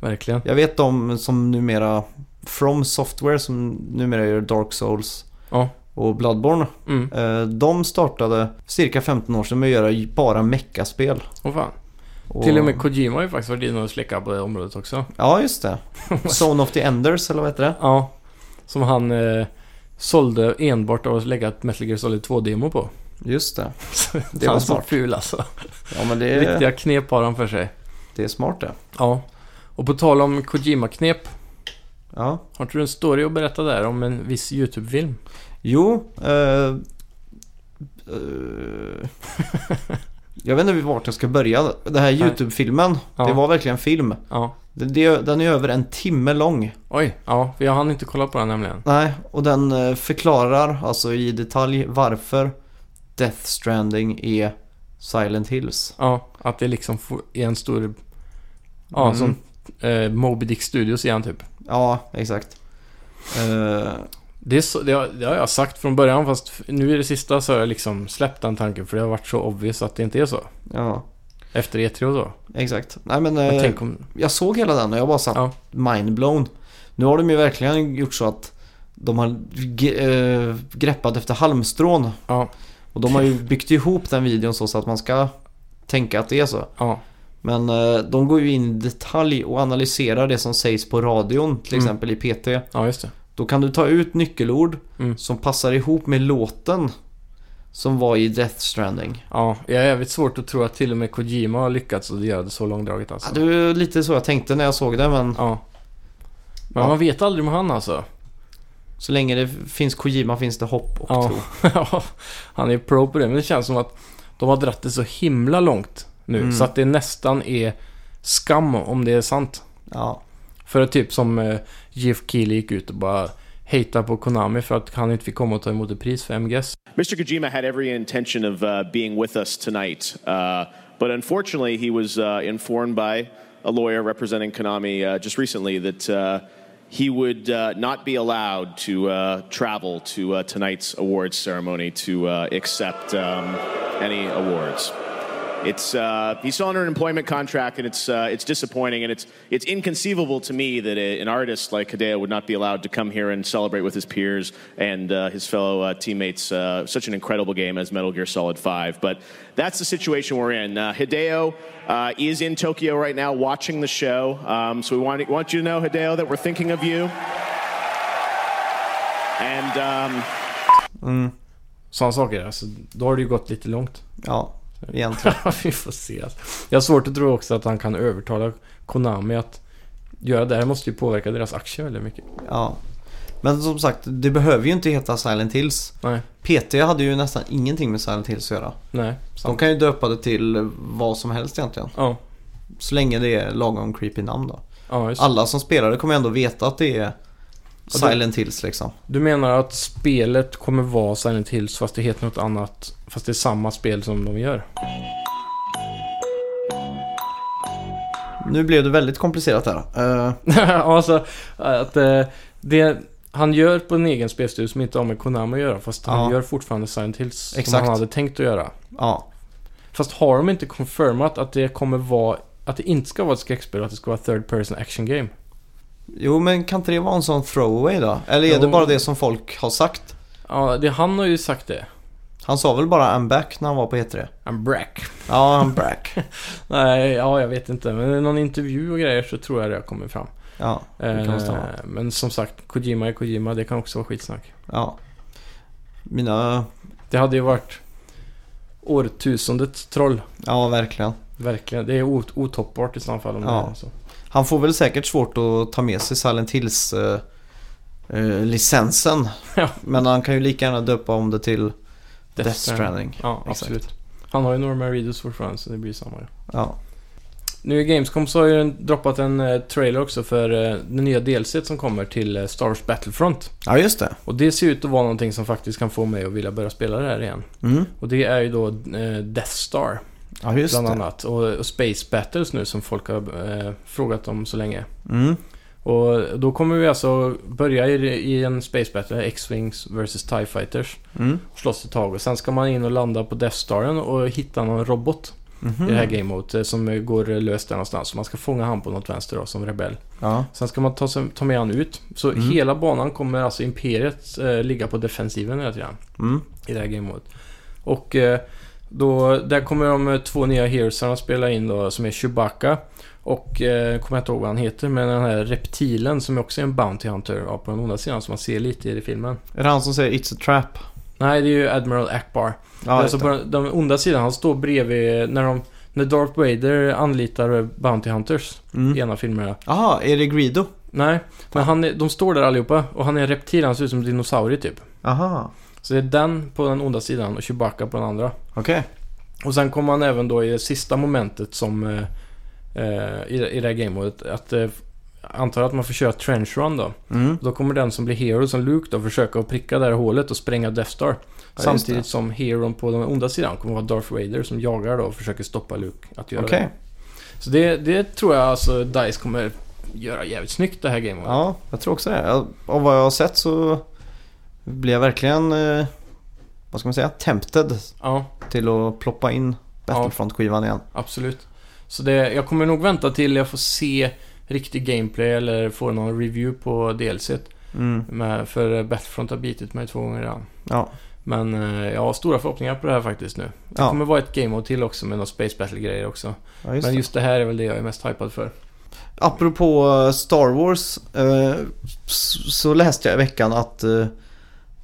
S2: Verkligen.
S1: Jag vet de som numera From Software som numera gör Dark Souls
S2: Ja.
S1: och Bloodborne.
S2: Mm.
S1: eh, De startade cirka 15 år sedan med att göra bara meckaspel.
S2: Åh fan.
S1: Och-
S2: Till och med Kojima har ju faktiskt varit inne och släckat på det området också.
S1: Ja, just det. Zone of the Enders eller vad heter det?
S2: Ja. Som han eh, sålde enbart av att lägga ett Metal Gear Solid 2-demo på.
S1: Just det.
S2: Det
S1: var
S2: han så
S1: smart.
S2: ful alltså. Eh.
S1: Ja, men det är,
S2: Riktiga knep har han för sig.
S1: det är smart det.
S2: Ja. Och på tal om Kojima-knep.
S1: Ja.
S2: Har inte du en story att berätta där om en viss YouTube-film?
S1: Jo, eh, eh, jag vet inte vart jag ska börja. Den här
S2: Nej.
S1: YouTube-filmen,
S2: Ja.
S1: det var verkligen film.
S2: Ja.
S1: Det, det, den är över en timme lång.
S2: Oj. Ja, för jag hann inte kolla på den nämligen.
S1: Nej, och den eh, förklarar alltså i detalj varför Death Stranding är Silent Hills.
S2: Ja, att det liksom får- är en stor... Ja,
S1: Mm.
S2: som eh, Moby Dick Studios igen typ.
S1: Ja, exakt. Eh,
S2: Det, är så, det, har, det har jag sagt från början fast f- nu i det sista så har jag liksom släppt den tanken för det har varit så obvious att det inte är så.
S1: ja,
S2: Efter E3 och så.
S1: exakt. Nej men...
S2: Men
S1: eh,
S2: tänk om...
S1: Jag såg hela den och jag bara satt
S2: Ja.
S1: mindblown. Nu har de ju verkligen gjort så att de har ge- eh, greppat efter halmstrån.
S2: Ja.
S1: Och de har ju byggt ihop den videon så så att man ska tänka att det är så.
S2: Ja.
S1: Men eh, de går ju in i detalj och analyserar det som sägs på radion, till
S2: Mm.
S1: exempel i PT.
S2: Ja, just det.
S1: Då kan du ta ut nyckelord
S2: Mm.
S1: som passar ihop med låten som var i Death Stranding.
S2: Ja, jag är jävligt svårt att tro att till och med Kojima har lyckats att göra det så långdraget
S1: Ja,
S2: alltså.
S1: det var lite så jag tänkte när jag såg det men
S2: Ja. Men
S1: Ja.
S2: man vet aldrig med han alltså.
S1: så länge det finns Kojima finns det hopp och
S2: Ja.
S1: tro.
S2: Ja, han är pro på det. Men det känns som att de har dratt det så himla långt nu.
S1: Mm.
S2: Så att det nästan är skam om det är sant.
S1: Ja.
S2: För att typ som eh, Jeff Keely gick ut och bara hejtade på Konami för att han inte fick komma och ta emot ett pris för MGS.
S3: Mr. Kojima had every intention of uh, being with us tonight, uh, but unfortunately, he was uh, informed by a lawyer representing Konami uh, just recently that uh, he would uh, not be allowed to uh, travel to uh, tonight's awards ceremony to uh, accept um, any awards. It's uh, he's on an employment contract, and it's uh, it's disappointing, and it's it's inconceivable to me that a, an artist like Hideo would not be allowed to come here and celebrate with his peers and uh, his fellow uh, teammates uh, such an incredible game as Metal Gear Solid Five. But that's the situation we're in. Uh, Hideo uh, is in Tokyo right now, watching the show. Um, so we want want you to know, Hideo, that we're thinking of you. And um,
S2: Sådana saker, alltså, då har det ju gått lite långt.
S1: Ja, egentligen.
S2: Vi får se. Alltså. Jag har svårt att tro också att han kan övertala Konami att göra det här. måste ju påverka deras aktier väldigt mycket.
S1: Ja. Men som sagt, det behöver ju inte heta Silent Hills.
S2: Nej,
S1: PT hade ju nästan ingenting med Silent Hills att göra.
S2: nej.
S1: De kan ju döpa det till vad som helst egentligen.
S2: Ja,
S1: Så länge det är lagom creepy namn då.
S2: ja just.
S1: Alla som spelar det kommer ändå veta att det är
S2: Ja, det-
S1: Silent Hills liksom.
S2: Du menar att spelet kommer vara Silent Hills fast det heter något annat? Fast det är samma spel som de gör?
S1: Nu blev det väldigt komplicerat här. Eh,
S2: Ja, alltså, att eh, det han gör på en egen spelstudio som inte har med Konami att göra. Fast han
S1: Ja.
S2: gör fortfarande Silent Hills som
S1: Exakt.
S2: han hade tänkt att göra.
S1: ja,
S2: Fast har de inte confirmat att det kommer vara att det inte ska vara ett skräckspel och att det ska vara third person action game?
S1: jo men kan inte det vara en sån throwaway då? Eller är det
S2: Jo.
S1: bara det som folk har sagt?
S2: Ja, det, han har ju sagt det.
S1: Han sa väl bara I'm back när han var på E3?
S2: I'm brack.
S1: Ja, I'm back.
S2: Nej, ja, jag vet inte. Men i någon intervju och grejer så tror jag det har kommit fram.
S1: Ja, det kan stämma.
S2: Eh, men som sagt, Kojima är Kojima. Det kan också vara skitsnack.
S1: Ja. Mina...
S2: Det hade ju varit årtusendets troll.
S1: Ja, verkligen.
S2: Verkligen. Det är ot- otoppbart i så fall om
S1: Ja.
S2: det är så.
S1: Han får väl säkert svårt att ta med sig Silent Hills eh, eh, licensen.
S2: Ja.
S1: Men han kan ju lika gärna döpa om det till Death, Stranding.
S2: Ja,
S1: Exakt.
S2: absolut. Han har ju Norman Reedus fortfarande så det blir samma. ja.
S1: Ja.
S2: Nu i Gamescom så har ju en- droppat en eh, trailer också för eh, det nya DLC som kommer till eh, Star Wars Battlefront.
S1: ja, just det.
S2: Och det ser ut att vara någonting som faktiskt kan få mig att vilja börja spela det här igen.
S1: Mm.
S2: Och det är ju då eh, Death Star
S1: Ja, just
S2: bland
S1: det.
S2: annat. Och, och Space Battles nu som folk har eh, frågat om så länge.
S1: Mm.
S2: Och då kommer vi alltså börja i, i en Space Battle, X-Wings vs TIE Fighters.
S1: Mm.
S2: Slåss ett tag och sen ska man in och landa på Death Staren och hitta någon robot
S1: Mhm.
S2: i det här game modet eh, som eh, går eh, lös där någonstans. Så man ska fånga han på något vänster då, som rebell.
S1: Ja.
S2: Sen ska man ta, sig- ta med han ut. Så
S1: Mm.
S2: hela banan kommer alltså Imperiet eh, ligga på defensiven hela tiden
S1: Mm.
S2: i det här game modet. Och eh, då, där kommer de eh, två nya heroesarna spela in då som är Chewbacca och, eh, kommer jag inte ihåg vad han heter, men den här reptilen som också är en Bounty Hunter ja, på den onda sidan som man ser lite i filmen.
S1: Är det han som säger It's a trap?
S2: Nej, det är ju Admiral Akbar.
S1: Ja,
S2: alltså
S1: just
S2: på
S1: det.
S2: den, den onda sidan, han står bredvid när de... När Darth Vader anlitar eh, Bounty Hunters i
S1: Mm.
S2: ena filmerna.
S1: Aha, är det Greedo?
S2: Nej, men han är, de står där allihopa och han är en reptil, han ser ut som en dinosaurie typ.
S1: Aha,
S2: Så det är den på den onda sidan och Chewbacca på den andra.
S1: okej.
S2: Och sen kommer han även då i det sista momentet som... Eh, eh, i, det- I det här gamemodet att... Eh, antar att man får köra trench run då.
S1: Mm.
S2: Då kommer den som blir hero som Luke då försöka att pricka det här hålet och spränga Death Star.
S1: det.
S2: Samtidigt som heron på den onda sidan kommer vara Darth Vader som jagar då och försöker stoppa Luke att göra
S1: Okej.
S2: det. Så det, det tror jag alltså DICE kommer göra jävligt snyggt det här gamemodet.
S1: Ja, jag tror också det. Jag, av vad jag har sett så blir jag verkligen, eh, vad ska man säga, tempted
S2: ja.
S1: till att ploppa in Battlefront-skivan igen.
S2: Absolut. Så det, jag kommer nog vänta till jag får se riktig gameplay eller får någon review på DLC.
S1: Mm.
S2: Med, för Battlefront har bitit mig två gånger redan.
S1: Ja.
S2: Men eh, jag har stora förhoppningar på det här faktiskt nu. Det
S1: Ja.
S2: kommer vara ett game mode till också med några Space Battle-grejer också.
S1: ja, just
S2: Men
S1: det.
S2: just det här är väl det jag är mest hypad för.
S1: Apropå eh, Star Wars eh, s- så läste jag i veckan att, eh,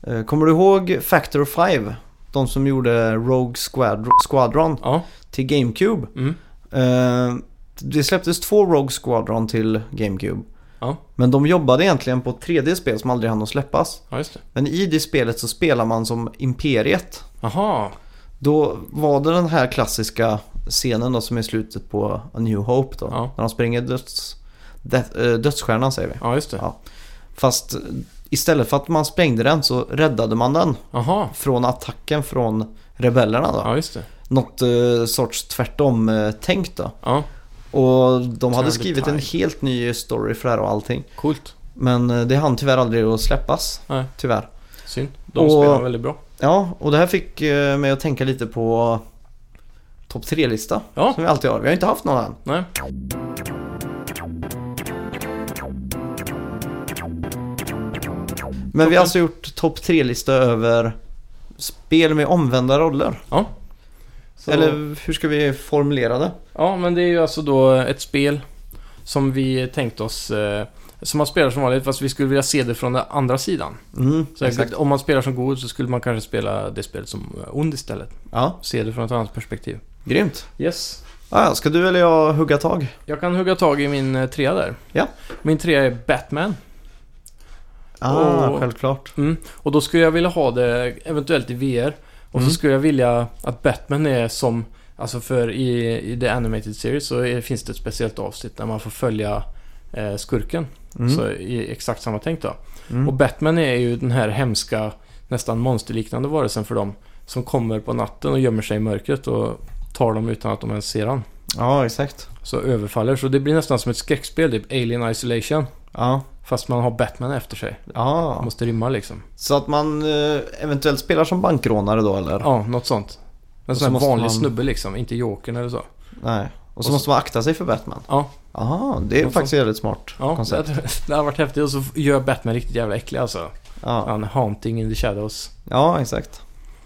S1: eh, kommer du ihåg Factor 5? De som gjorde Rogue Squadron, Squadron
S2: Ja.
S1: till GameCube.
S2: Mm.
S1: Eh, det släpptes två Rogue Squadron till GameCube.
S2: Ja.
S1: Men de jobbade egentligen på ett tredje spel som aldrig hann att släppas.
S2: ja, just det.
S1: Men i det spelet så spelar man som Imperiet.
S2: Aha.
S1: Då var det den här klassiska scenen då som är slutet på A New Hope då.
S2: Ja.
S1: När de springer döds, död, eh, dödsstjärnan säger vi.
S2: Ja, just det.
S1: Ja. Fast istället för att man sprängde den så räddade man den
S2: Aha.
S1: från attacken från rebellerna då.
S2: Ja, just det.
S1: Något eh, sorts tvärtom-tänk då.
S2: Ja,
S1: Och de hade
S2: Turn the
S1: skrivit en helt ny story för det här och allting.
S2: coolt.
S1: Men eh, det hann tyvärr aldrig att släppas.
S2: Nej.
S1: Tyvärr.
S2: Synd. De
S1: Och-
S2: spelar väldigt bra.
S1: Ja, och det här fick eh, mig att tänka lite på topp 3-lista.
S2: Ja.
S1: Som vi alltid har. Vi har inte haft någon än.
S2: Nej.
S1: Men vi har alltså gjort topp 3-lista över spel med omvända roller.
S2: Ja. Så-
S1: Eller hur ska vi formulera det?
S2: Ja, men det är ju alltså då ett spel som vi tänkt oss... Eh, som man spelar som vanligt, fast vi skulle vilja se det från den andra sidan.
S1: Mm,
S2: Så om man spelar som god så skulle man kanske spela det spelet som eh, ond istället.
S1: Ja,
S2: Se det från ett annat perspektiv.
S1: grymt.
S2: Yes.
S1: Ja, ja, ska du eller jag hugga tag?
S2: Jag kan hugga tag i min eh, trea där.
S1: Ja.
S2: Min trea är Batman.
S1: Ah,
S2: Och-
S1: självklart.
S2: Mm. Och då skulle jag vilja ha det eventuellt i VR. Och
S1: Mm.
S2: så skulle jag vilja att Batman är som... Alltså för i, i The Animated Series så är, finns det ett speciellt avsnitt där man får följa eh, skurken.
S1: Mm.
S2: Så i exakt samma tänk då.
S1: Mm.
S2: Och Batman är ju den här hemska, nästan monsterliknande varelsen för dem. Som kommer på natten och gömmer sig i mörkret och tar dem utan att de ens ser han.
S1: Ja, exakt.
S2: Så överfaller. Så det blir nästan som ett skräckspel, typ Alien Isolation.
S1: Ja,
S2: Fast man har Batman efter sig. Man
S1: ja.
S2: måste rymma liksom.
S1: Så att man eh, eventuellt spelar som bankrånare då eller?
S2: Ja, något sånt. En
S1: Och så
S2: sån här
S1: måste
S2: vanlig
S1: man-
S2: snubbe liksom, inte Jokern eller så.
S1: Nej. Och så
S2: Och så-
S1: måste man akta sig för Batman.
S2: Ja,
S1: Jaha, det är
S2: Och så-
S1: faktiskt ett väldigt smart
S2: ja det,
S1: koncept.
S2: hade- det har varit häftigt. Och så gör Batman riktigt jävla äcklig alltså.
S1: Ja.
S2: Han är haunting in the shadows.
S1: ja, exakt.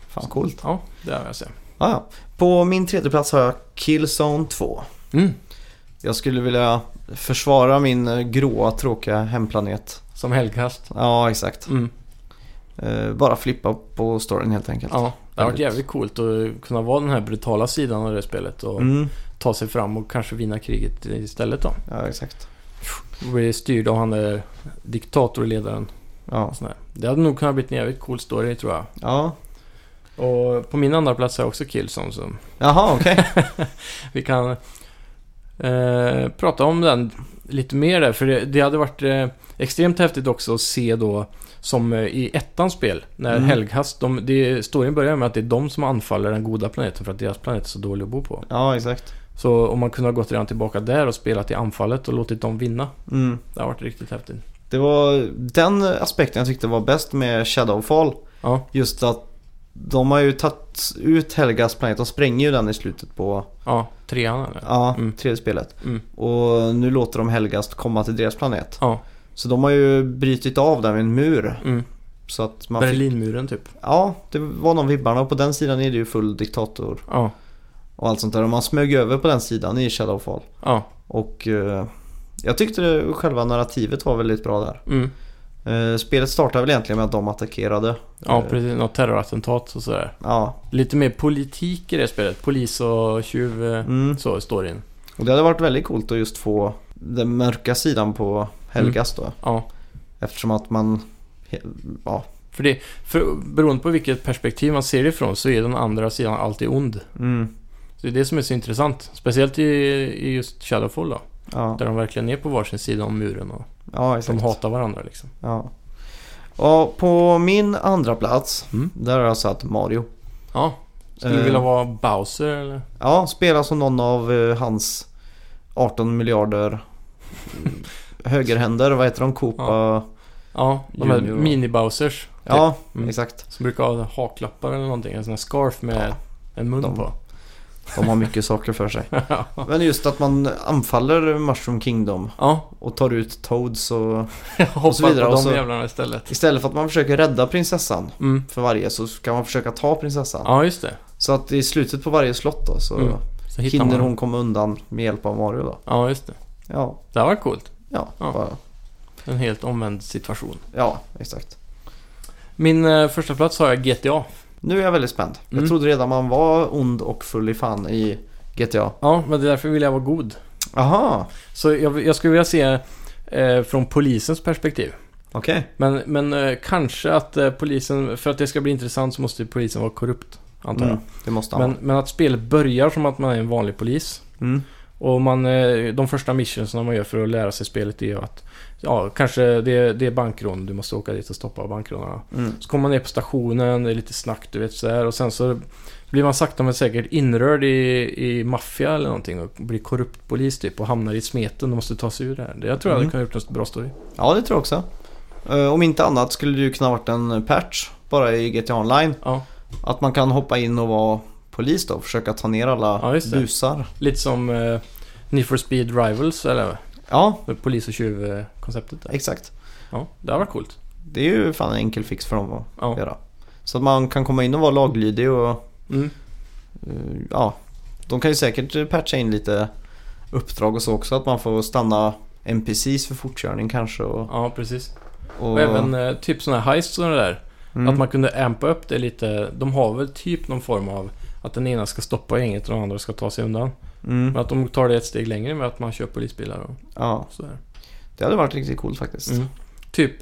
S1: Fan coolt.
S2: Ja, det har jag sett.
S1: Ja, ja. På min tredje plats har jag Killzone 2.
S2: Mm.
S1: Jag skulle vilja försvara min eh, gråa tråkiga hemplanet.
S2: Som helgkast.
S1: Ja, exakt.
S2: Mm.
S1: Eh, bara flippa på storyn helt enkelt.
S2: Ja, det har varit
S1: Väldigt.
S2: jävligt coolt att kunna vara den här brutala sidan av det spelet och
S1: Mm,
S2: ta sig fram och kanske vinna kriget istället då.
S1: ja exakt.
S2: Och bli styrd av han där diktatorledaren.
S1: Ja.
S2: och sån där. Det hade nog kunnat bli en jävligt cool story tror jag.
S1: ja.
S2: Och på min andra plats har jag också Killzone som
S1: Jaha, okej.
S2: Vi kan eh, prata om den lite mer där, för det, det hade varit eh, extremt häftigt också att se då som eh, i ettans spel, när
S1: Mm.
S2: Helghast, de, det, storyn börjar med att det är de som anfaller den goda planeten för att deras planet är så dålig att bo på.
S1: Ja, exakt.
S2: Så om man kunde ha gått redan tillbaka där och spelat i anfallet och låtit dem vinna,
S1: Mm.
S2: det hade varit riktigt häftigt.
S1: Det var den aspekten jag tyckte var bäst med Shadowfall.
S2: Ja,
S1: Just att de har ju tagit ut Helgas planet. De spränger ju den i slutet på
S2: ja, trean eller?
S1: ja,
S2: Mm.
S1: tredje spelet.
S2: Mm.
S1: Och nu låter de Helgas komma till deras planet.
S2: Ja,
S1: Så de har ju brytit av den med en mur.
S2: mm.
S1: Så att man fick,
S2: Berlinmuren typ.
S1: Ja, det var de vibbarna. Och på den sidan är det ju full diktator
S2: Ja,
S1: och allt sånt där. Och man smög över på den sidan i Shadowfall.
S2: ja,
S1: Och eh, jag tyckte det, själva narrativet var väldigt bra där.
S2: mm.
S1: Eh, spelet startade väl egentligen med att de attackerade.
S2: Ja,
S1: Eh,
S2: precis. Något terrorattentat och sådär.
S1: Ja,
S2: Lite mer politik i det spelet. Polis och tjuv, eh,
S1: mm.
S2: så storyn.
S1: och det hade varit väldigt coolt att just få den mörka sidan på Helgas då.
S2: Ja.
S1: Eftersom att man... he- Ja,
S2: För det, för, beroende på vilket perspektiv man ser det ifrån så är den andra sidan alltid ond.
S1: mm,
S2: Så det är det som är så intressant. Speciellt i, i just Shadowfall då.
S1: ja,
S2: Där de verkligen är på varsin sida om muren och
S1: ja
S2: de
S1: exakt.
S2: hatar varandra liksom.
S1: Ja. Och på min andra plats,
S2: Mm.
S1: där har jag satt Mario.
S2: Ja. Skulle du
S1: Eh.
S2: vilja vara Bowser eller?
S1: Ja, spelar som någon av eh, hans 18 miljarder mm, högerhänder. Vad heter de? eh, Koopa? Ja, Typ.
S2: Ja, de här
S1: Junior.
S2: mini-Bowsers. Mm.
S1: exakt.
S2: Som brukar ha haklappar eller någonting. En sån här scarf med en mun
S1: De-
S2: på.
S1: De har mycket saker för sig. Men just att man anfaller Mushroom Kingdom
S2: Ja,
S1: och tar ut Toads och
S2: jag hoppar
S1: vidare,
S2: på
S1: och
S2: de
S1: så-
S2: jävlarna istället.
S1: istället för att man försöker rädda prinsessan
S2: Mm.
S1: för varje så ska man försöka ta prinsessan.
S2: Ja, just det.
S1: Så att i slutet på varje slott då så
S2: Mm. Så hittar
S1: hinner
S2: man-
S1: hon komma undan med hjälp av Mario då.
S2: Ja, just det.
S1: Ja,
S2: Det här var coolt.
S1: ja,
S2: Ja.
S1: Bara,
S2: En helt omvänd situation.
S1: ja exakt.
S2: Min eh, första plats har jag GTA.
S1: Nu är jag väldigt spänd.
S2: Mm.
S1: Jag trodde redan man var ond och full i fan i GTA.
S2: Ja, men det är därför vill jag vara god.
S1: Aha,
S2: Så jag, jag skulle vilja se eh, från polisens perspektiv.
S1: okej.
S2: Men, men eh, kanske att eh, polisen, för att det ska bli intressant så måste ju polisen vara korrupt. Antar jag.
S1: Mm, det måste han
S2: Men, men att spelet börjar som att man är en vanlig polis.
S1: vara. mm.
S2: Och man, eh, de första missionsen man gör för att lära sig spelet är ju att Ja, kanske det, är- det är bankrån. Du måste åka dit och stoppa bankrånarna.
S1: Mm.
S2: Så kommer man ner på stationen, det är lite snack du vet så här och sen så blir man sakta men säkert inrörd i, i maffia eller någonting och blir korrupt polis typ och hamnar i smeten och måste ta sig ur det här. Det- Jag tror jag hade
S1: Mm.
S2: kunnat gjort en bra story.
S1: Ja, det tror jag också. Eh, Om inte annat skulle det ju kunna varit en patch bara i GTA Online.
S2: Ja,
S1: Att man kan hoppa in och vara polis då. Försöka ta ner alla
S2: Ja, just det.
S1: busar.
S2: Lite som eh, Need for Speed Rivals eller
S1: Ja,
S2: vad? polis och tjuv-konceptet där.
S1: exakt.
S2: Ja, det hade varit coolt.
S1: Det är ju fan en enkel fix för dem att
S2: Ja.
S1: göra. Så att man kan komma in och vara laglydig och
S2: Mm.
S1: eh, ja. De kan ju säkert patcha in lite uppdrag och så också. Att man får stanna NPCs för fortkörning kanske. Och,
S2: ja, precis.
S1: och,
S2: Och även eh, typ sådana här heists och det där.
S1: mm,
S2: Att man kunde ampa upp det lite. De har väl typ någon form av att den ena ska stoppa gänget och den andra ska ta sig undan.
S1: mm,
S2: Men att de tar det ett steg längre med att man kör polisbilar och
S1: ja,
S2: sådär.
S1: det hade varit riktigt coolt faktiskt.
S2: Mm. Typ,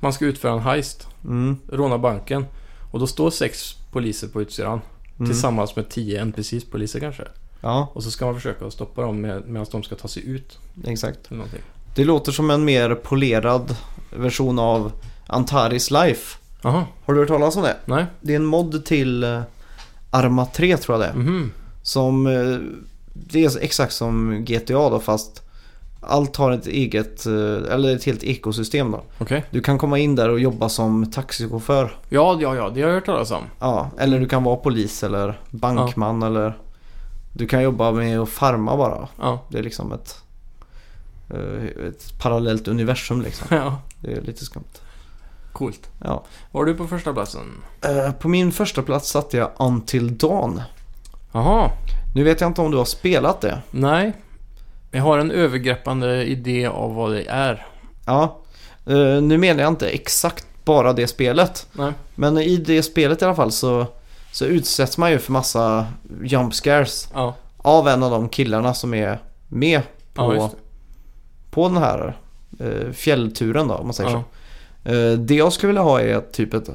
S2: man ska utföra en heist,
S1: Mm,
S2: råna banken. Och då står sex poliser på utsidan.
S1: mm,
S2: Tillsammans med tio NPCs poliser kanske.
S1: ja,
S2: Och så ska man försöka att stoppa dem med, medan de ska ta sig ut.
S1: exakt.
S2: Eller någonting.
S1: Det låter som en mer polerad version av Antaris Life.
S2: Jaha,
S1: Har du hört talas om det?
S2: nej.
S1: Det är en mod till eh, Arma 3 tror jag det är.
S2: Mhm.
S1: Som, eh, det är exakt som GTA då fast allt har ett eget, eh, eller ett helt ekosystem då.
S2: Okej.
S1: Du kan komma in där och jobba som taxichaufför.
S2: Ja, ja, ja, det har jag hört talas om.
S1: Ja, eller du kan vara polis eller bankman eller du kan jobba med att farma bara.
S2: Ja.
S1: Det är liksom ett, eh, ett parallellt universum liksom.
S2: ja,
S1: Det är lite skumt.
S2: coolt.
S1: Ja.
S2: Var du på första platsen?
S1: Eh, På min första plats satte jag Until Dawn.
S2: Jaha,
S1: Nu vet jag inte om du har spelat det.
S2: nej. Jag har en övergreppande idé av vad det är.
S1: Ja. Eh, Nu menar jag inte exakt bara det spelet.
S2: Nej.
S1: Men i det spelet i alla fall så, så utsätts man ju för massa jump scares
S2: Ja,
S1: av en av de killarna som är med
S2: ja
S1: på,
S2: just det.
S1: på den här eh, fjällturen då om man säger
S2: Ja.
S1: så. Eh, Det jag skulle vilja ha är typ ett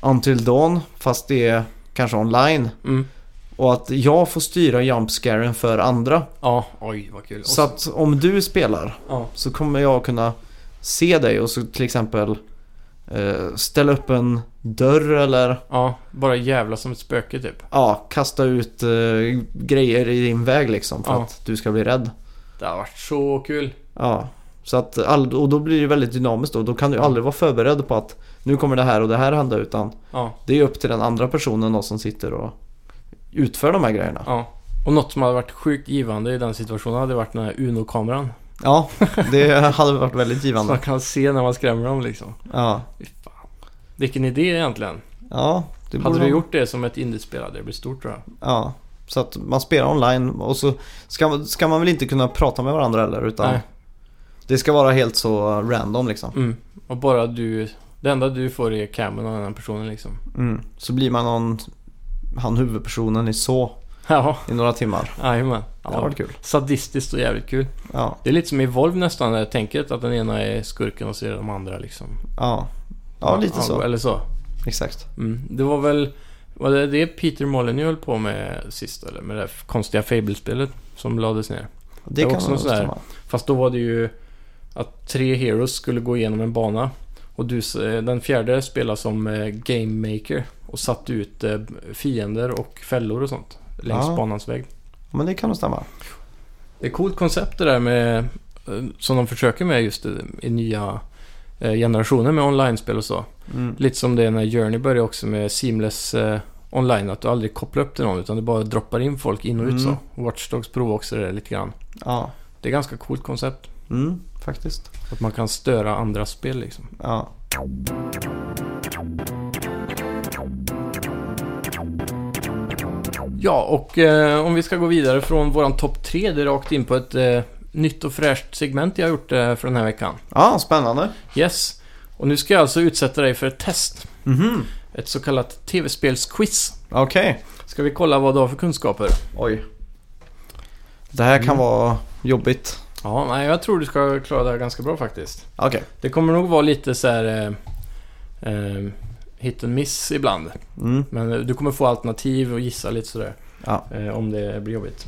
S1: Until Dawn fast det är kanske online.
S2: Mm.
S1: Och att jag får styra jump scaren för andra.
S2: ja, oj vad kul. Och
S1: Så att om du spelar
S2: ja.
S1: så kommer jag kunna se dig och så till exempel eh, ställa upp en dörr eller
S2: ja, bara jävla som ett spöke typ.
S1: ja, kasta ut eh, grejer i din väg liksom för
S2: Ja.
S1: att du ska bli rädd.
S2: Det har varit så kul.
S1: Ja, så att all, och då blir det väldigt dynamiskt och då kan du aldrig vara förberedd på att nu kommer det här och det här hända utan
S2: Ja,
S1: det är upp till den andra personen då som sitter och utför de här grejerna.
S2: ja. Och något som hade varit sjukt givande i den situationen hade varit den här Uno-kameran.
S1: Ja, det hade varit väldigt
S2: Så man
S1: givande.
S2: kan se när man skrämmer dem liksom.
S1: Ja,
S2: Fy fan. Vilken idé egentligen.
S1: ja det
S2: Hade
S1: borde
S2: du
S1: man-
S2: gjort det som ett indiespel hade det blivit stort tror jag.
S1: Ja, så att man spelar online och så ska, ska man väl inte kunna prata med varandra heller utan
S2: Nej.
S1: det ska vara helt så random liksom.
S2: Mm. Och bara du... Det enda du får är cammen och den här personen liksom.
S1: Mm. Så blir man någon, han huvudpersonen i så
S2: Ja,
S1: i några timmar.
S2: jajamän.
S1: Ja, det har
S2: Ja.
S1: varit kul.
S2: Sadistiskt och jävligt kul.
S1: Ja,
S2: Det är lite som i Volv nästan, det här tänket att den ena är skurken och så är det de andra liksom.
S1: ja. Ja, lite så.
S2: Eller så.
S1: Exakt.
S2: Mm. Det var väl... Var det det Peter Molyneux höll på med sist eller? Med det här konstiga Fable-spelet som lades ner.
S1: Det,
S2: var
S1: kan
S2: också
S1: man
S2: sån här-
S1: stämma.
S2: Fast då var det ju att tre heroes skulle gå igenom en bana. Och du, eh, den fjärde spelade som eh, game maker och satte ut eh, fiender och fällor och sånt längs
S1: Ja.
S2: banans väg.
S1: Men det kan nog stämma.
S2: Det är coolt koncept det där med eh, som de försöker med just i- i nya eh, generationer med online-spel och så.
S1: Mm.
S2: Lite som det är när Journey började också med seamless eh, online, att du aldrig kopplar upp till någon utan du bara droppar in folk in och ut
S1: Mm.
S2: så. Watch Dogs provar också det där lite grann.
S1: Ja,
S2: Det är ganska coolt koncept.
S1: mm, faktiskt.
S2: Att man kan störa andras spel liksom.
S1: Ja.
S2: Ja, och eh, om vi ska gå vidare från våran topp tre, det är rakt in på ett eh, nytt och fräscht segment jag har gjort eh, för den här veckan.
S1: ja, spännande.
S2: Yes, och nu ska jag alltså utsätta dig för ett test.
S1: Mhm.
S2: Ett så kallat tv-spelsquiz.
S1: Okej.
S2: Ska vi kolla vad du har för kunskaper?
S1: Oj. Mm. Det här kan vara jobbigt.
S2: Ja, nej, jag tror du ska klara det här ganska bra faktiskt.
S1: Okej.
S2: Det kommer nog vara lite så här... Eh, eh, hit and miss ibland.
S1: Mm.
S2: Men eh, du kommer få alternativ och gissa lite sådär.
S1: Ja.
S2: Eh, om det blir jobbigt.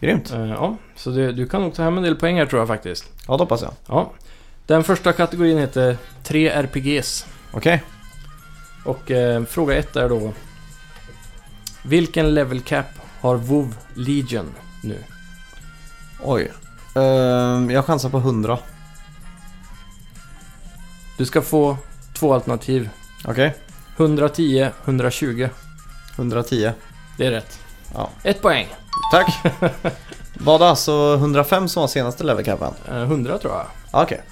S1: Grymt.
S2: Eh, ja, så det, du kan nog ta hem en del poäng här tror jag faktiskt.
S1: Ja, det hoppas jag.
S2: Ja. Den första kategorin heter 3 RPGs.
S1: Okej.
S2: Och eh, fråga ett är då... Vilken level cap har WoW Legion nu?
S1: Oj. Ehm, jag chansar på 100.
S2: Du ska få två alternativ.
S1: Okej.
S2: 110, 120.
S1: 110.
S2: Det är rätt.
S1: Ja.
S2: Ett poäng.
S1: Tack! Var det alltså 105 som var senaste levercapen?
S2: Eh, 100 tror jag.
S1: Ja, Okej.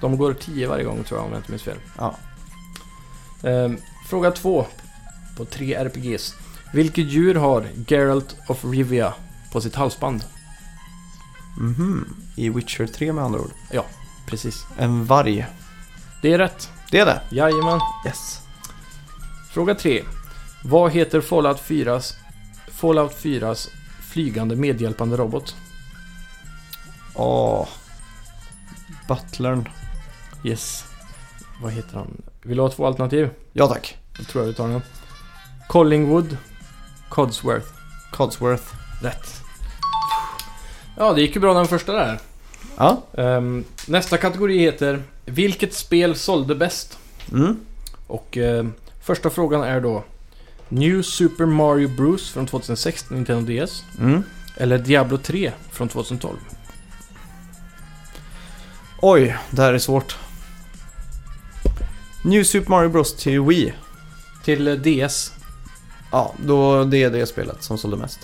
S2: De går 10 varje gång tror jag om jag inte minns fel.
S1: Ja.
S2: Ehm, fråga 2 på 3 RPGs. Vilket djur har Geralt of Rivia på sitt halsband?
S1: Mhm. I Witcher 3 med andra ord.
S2: Precis.
S1: En varg.
S2: Det är rätt.
S1: Det är det?
S2: Jajamän.
S1: Yes.
S2: Fråga 3. Vad heter Fallout 4s, Fallout 4s flygande medhjälpande robot?
S1: Åh. Butlern.
S2: Yes. Vad heter han? Vill du ha två alternativ?
S1: Ja tack.
S2: Då tror jag vi tar den. Collingwood. Codsworth.
S1: Codsworth.
S2: Rätt. Ja, det gick ju bra den första där.
S1: Ja.
S2: Ehm, nästa kategori heter Vilket spel sålde bäst?
S1: Mm.
S2: Och ehm, första frågan är då New Super Mario Bros från 2006 till Nintendo DS
S1: Mm.
S2: eller Diablo 3 från 2012?
S1: Oj, det här är svårt. New Super Mario Bros till Wii.
S2: Till eh, DS.
S1: Ja, då det är det spelet som sålde mest.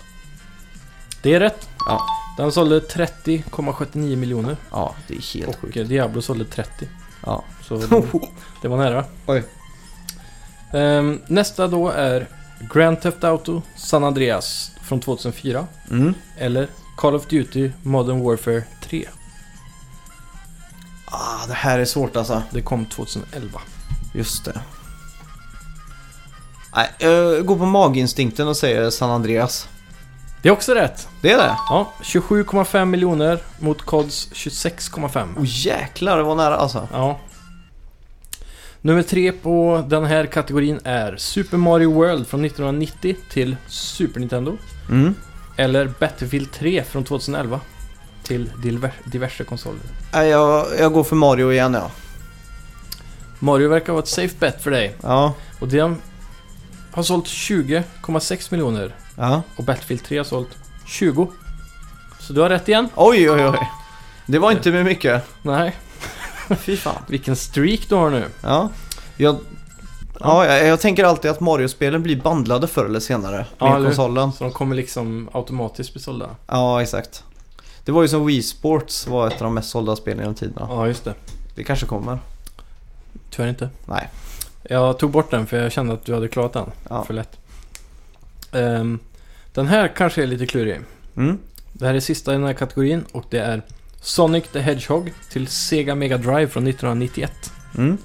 S2: Det är rätt.
S1: Ja.
S2: Den sålde 30,79 miljoner
S1: Ja, det är helt
S2: och
S1: sjukt.
S2: eh, Diablo sålde 30.
S1: Ja.
S2: Så de- det var nära.
S1: Oj.
S2: Ehm, nästa då är Grand Theft Auto San Andreas från 2004
S1: Mm.
S2: eller Call of Duty Modern Warfare 3.
S1: Ah, det här är svårt alltså.
S2: Det kom 2011.
S1: Just det. Nej, jag går på maginstinkten och säger San Andreas.
S2: Det är också rätt.
S1: Det är det?
S2: Ja, 27,5 miljoner mot CODs 26,5.
S1: Oh jäklar, det var nära alltså.
S2: Ja. Nummer tre på den här kategorin är Super Mario World från 1990 till Super Nintendo.
S1: Mm.
S2: Eller Battlefield 3 från 2011 till diver- diverse konsoler.
S1: Nej, jag, jag går för Mario igen ja.
S2: Mario verkar vara ett safe bet för dig.
S1: Ja.
S2: Och den har sålt 20,6 miljoner.
S1: ja.
S2: Och Battlefield 3 har sålt 20. Så du har rätt igen.
S1: Oj, oj, oj. Det var inte med mycket.
S2: Nej,
S1: Fy fan.
S2: vilken streak du har nu.
S1: Ja. Jag, ja, jag, jag tänker alltid att Mario-spelen blir bandlade förr eller senare med
S2: Ja, eller-
S1: konsolen.
S2: Så de kommer liksom automatiskt bli sålda.
S1: Ja, exakt. Det var ju som Wii Sports var ett av de mest sålda spelen genom tiderna.
S2: Ja, just det.
S1: Det kanske kommer.
S2: Tyvärr inte.
S1: Nej.
S2: Jag tog bort den för jag kände att du hade klarat den
S1: Ja.
S2: för lätt. Ehm, den här kanske är lite klurig.
S1: Mm.
S2: Det här är sista i den här kategorin och det är Sonic the Hedgehog till Sega Mega Drive från 1991
S1: Mm.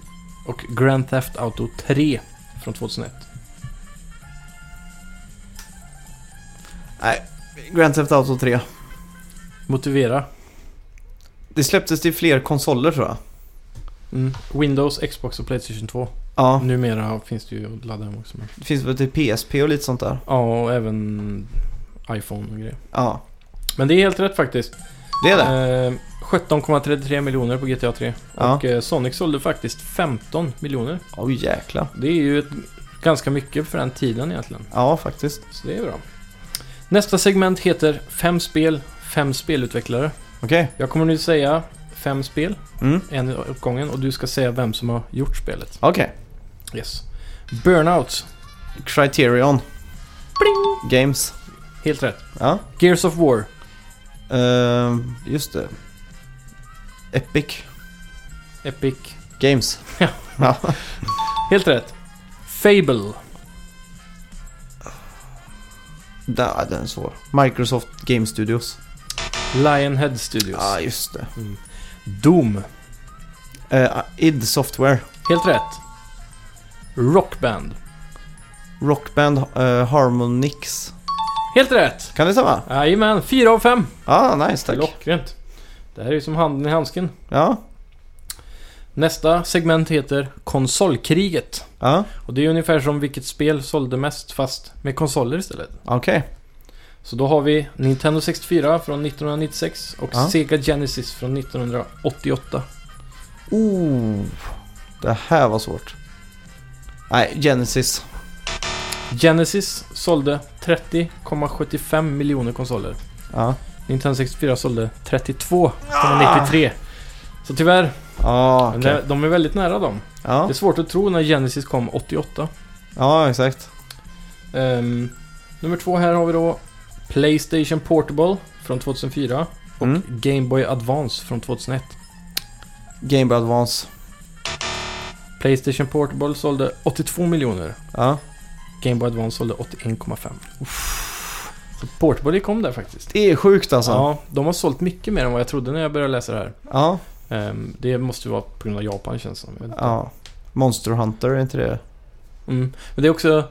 S2: och Grand Theft Auto 3 från 2001.
S1: Nej, Grand Theft Auto 3.
S2: Motivera.
S1: Det släpptes till fler konsoler tror jag.
S2: Mm. Windows, Xbox och Playstation 2.
S1: Ja,
S2: Numera finns det ju att ladda hem också. men-
S1: det finns väl till PSP och lite sånt där.
S2: Ja, och även iPhone och grejer.
S1: Ja,
S2: Men det är helt rätt faktiskt.
S1: det är det.
S2: Ehm, 17,33 miljoner på GTA 3.
S1: Ja.
S2: Och eh, Sonic sålde faktiskt 15 miljoner.
S1: Oj jäklar.
S2: Det är ju ett, ganska mycket för den tiden egentligen.
S1: Ja, faktiskt.
S2: Så det är bra. Nästa segment heter Fem spel, fem spelutvecklare.
S1: Okej.
S2: Jag kommer nu säga fem spel,
S1: Mm.
S2: en i uppgången, och du ska säga vem som har gjort spelet.
S1: Okej.
S2: Yes. Burnout,
S1: Criterion. Games.
S2: helt rätt.
S1: Ja.
S2: Gears of War,
S1: Ehm, just det. Epic
S2: Epic,
S1: Games.
S2: helt rätt. Fable,
S1: Där, den är svår. Microsoft Game Studios.
S2: Lionhead Studios,
S1: Ja, just det.
S2: Doom,
S1: Eh, id Software.
S2: helt rätt. Rockband,
S1: Rockband eh, Harmonix.
S2: helt rätt!
S1: Kan det stämma?
S2: Jajamän, fyra av fem.
S1: Ja, ah, nice tack.
S2: Klockrent. Det här är ju som handen i handsken.
S1: Ja.
S2: Nästa segment heter Konsolkriget.
S1: Ja,
S2: Och det är ungefär som vilket spel sålde mest fast med konsoler istället.
S1: okej.
S2: Så då har vi Nintendo 64 från 1996 och
S1: Ja.
S2: Sega Genesis från 1988.
S1: Oh, det här var svårt. Nej, Genesis.
S2: Genesis sålde 30,75 miljoner konsoler.
S1: Ja.
S2: Nintendo 64 sålde 32,93. Så tyvärr,
S1: Ja,
S2: men
S1: okej.
S2: det- de är väldigt nära dem. Det
S1: ja.
S2: är svårt att tro när Genesis kom 88.
S1: ja, exakt.
S2: Ehm, nummer två här har vi då Playstation Portable från 2004 och
S1: Mm.
S2: Game Boy Advance från 2001.
S1: Game Boy Advance.
S2: Playstation Portable sålde 82 miljoner.
S1: Ja.
S2: Game Boy Advance sålde 81,5. Så Portable kom där faktiskt.
S1: Det är sjukt alltså. Ja.
S2: Ja, de har sålt mycket mer än vad jag trodde när jag började läsa det här.
S1: Ja.
S2: Ehm, det måste ju vara på grund av Japan känns det som. Jag vet inte.
S1: Monster Hunter, är inte det?
S2: Mm. Men det är också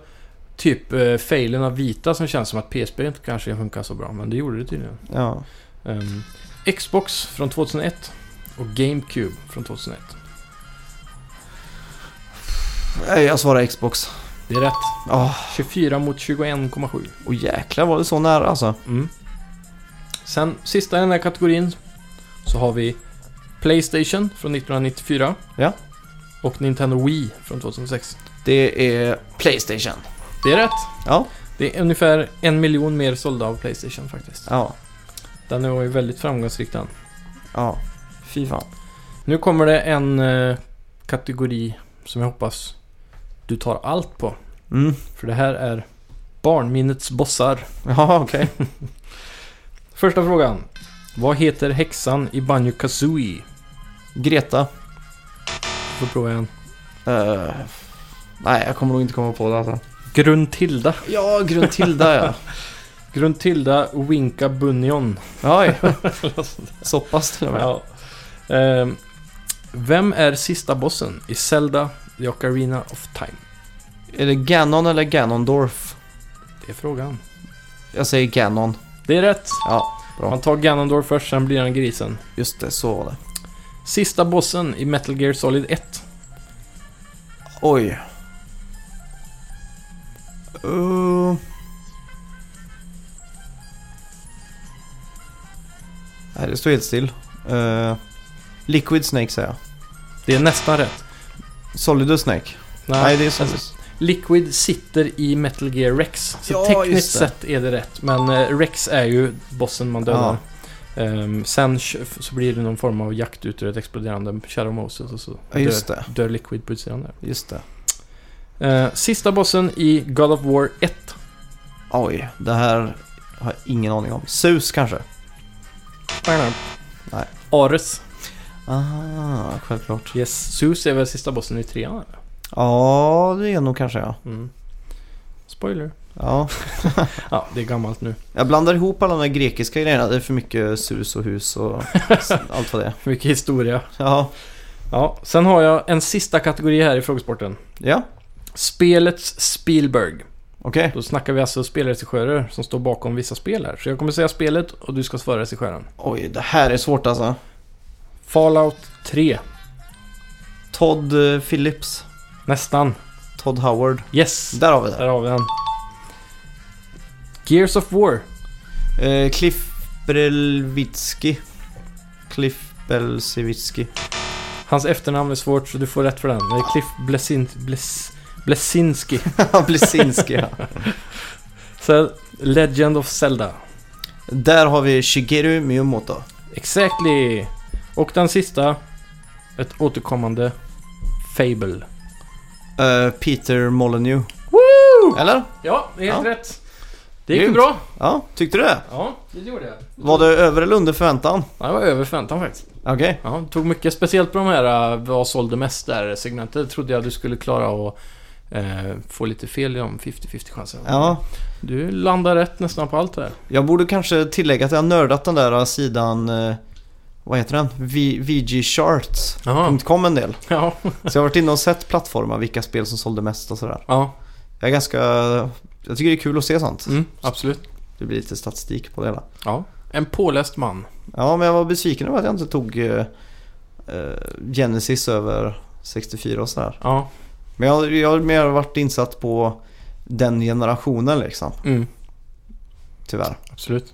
S2: typ eh, failen av Vita som känns som att PSP inte kanske funkar så bra, men det gjorde det tydligen.
S1: Ja.
S2: Ehm, Xbox från 2001 och GameCube från 2001.
S1: Nej, Jag svarar Xbox.
S2: Det är rätt.
S1: Åh,
S2: 24 mot 21,7.
S1: och jäklar var det så nära alltså.
S2: Mm. Sen sista i den här kategorin så har vi Playstation från 1994.
S1: Ja.
S2: Och Nintendo Wii från 2006.
S1: Det är Playstation.
S2: Det är rätt.
S1: Ja.
S2: Det är ungefär en miljon mer sålda av Playstation faktiskt.
S1: Ja.
S2: Den var ju väldigt framgångsrik den.
S1: Ja. Fy fan.
S2: Nu kommer det en eh, kategori som jag hoppas du tar allt på.
S1: Mm.
S2: För det här är barnminnets bossar.
S1: Ja, okej.
S2: Första frågan. Vad heter häxan i Banjo Kazooie?
S1: Greta.
S2: Får prova igen.
S1: Eh, nej, jag kommer nog inte komma på det alltså.
S2: Gruntilda.
S1: Ja, Gruntilda ja.
S2: Gruntilda Winka Bunnion.
S1: Oj. Så pass till och med.
S2: Ja. Ehm, vem är sista bossen i Zelda The Ocarina of Time?
S1: Är det Ganon eller Ganondorf?
S2: Det är frågan.
S1: Jag säger Ganon.
S2: Det är rätt.
S1: Ja, bra.
S2: Man tar Ganondorf först, sen blir han grisen.
S1: just det. Så var det.
S2: Sista bossen i Metal Gear Solid 1.
S1: Oj. Uh. Nej, det står helt still. Eh, Liquid Snake säger jag.
S2: Det är nästan rätt.
S1: Solidus Snake. Nej, det är
S2: alltså,
S1: Solidus.
S2: Liquid sitter i Metal Gear Rex. Så
S1: Ja,
S2: tekniskt
S1: just det.
S2: sett är det rätt. Men eh, Rex är ju bossen man dödar. Ehm, sen kö- f- så blir det någon form av jakt ut ur ett exploderande Shadow Moses och så
S1: Ja, just
S2: dör,
S1: det.
S2: dör Liquid på utsidan där.
S1: Just det.
S2: Eh, sista bossen i God of War 1.
S1: Oj, det här har jag ingen aning om. Zeus kanske? Nej.
S2: Ares.
S1: Ah, självklart.
S2: Yes. Zeus är väl sista bossen i trean? eller?
S1: Ja, det är nog kanske ja.
S2: Mm. Spoiler.
S1: ja.
S2: Ja, det är gammalt nu.
S1: Jag blandar ihop alla de här grekiska grejerna. Det är för mycket sus och hus och s- allt vad det är.
S2: För mycket historia.
S1: Ja,
S2: Ja, sen har jag en sista kategori här i frågesporten.
S1: ja.
S2: Spelets Spielberg.
S1: okej.
S2: Då snackar vi alltså spelregissörer som står bakom vissa spel här. Så jag kommer säga spelet och du ska svara regissören.
S1: Oj, det här är svårt alltså.
S2: Fallout 3.
S1: Todd eh, Phillips.
S2: Nästan.
S1: Todd Howard.
S2: Yes!
S1: Där har vi det.
S2: Där har vi den. Gears of War.
S1: Eh, Cliff Brelvitsky. Cliff Belzewitsky.
S2: Hans efternamn är svårt så du får rätt för den. Det är Cliff Blesin... Bles, Blesinski.
S1: Blesinski ja.
S2: Sen Legend of Zelda.
S1: Där har vi Shigeru Miyamoto.
S2: Exactly! Och den sista. Ett återkommande Fable.
S1: Eh, Peter Molyneux.
S2: Woo!
S1: Eller?
S2: Ja, det är helt
S1: Ja.
S2: rätt. Det gick ju
S1: Grymt.
S2: bra.
S1: Ja, tyckte du det?
S2: Ja, det gjorde jag.
S1: Var det över eller under förväntan?
S2: Ja, Det var över förväntan faktiskt.
S1: Okej.
S2: Ja, det tog mycket. Speciellt på de här eh, vad sålde mest där segmentet. trodde jag du skulle klara att eh, få lite fel i de 50-50 chanserna.
S1: Ja.
S2: Du landar rätt nästan på allt där.
S1: Jag borde kanske tillägga att jag har nördat den där sidan... eh, Vad heter den? V- VGcharts.com
S2: Jaha.
S1: en del.
S2: Ja.
S1: Så jag har varit inne och sett plattformar, vilka spel som sålde mest och sådär.
S2: ja.
S1: Jag är ganska... Jag tycker det är kul att se sånt.
S2: Mm, absolut.
S1: Det blir lite statistik på det hela.
S2: Ja. En påläst man.
S1: Ja, men jag var besviken över att jag inte tog eh, eh, Genesis över 64 och sådär.
S2: Ja.
S1: Men jag, jag har mer varit insatt på den generationen liksom,
S2: Mm,
S1: tyvärr.
S2: absolut.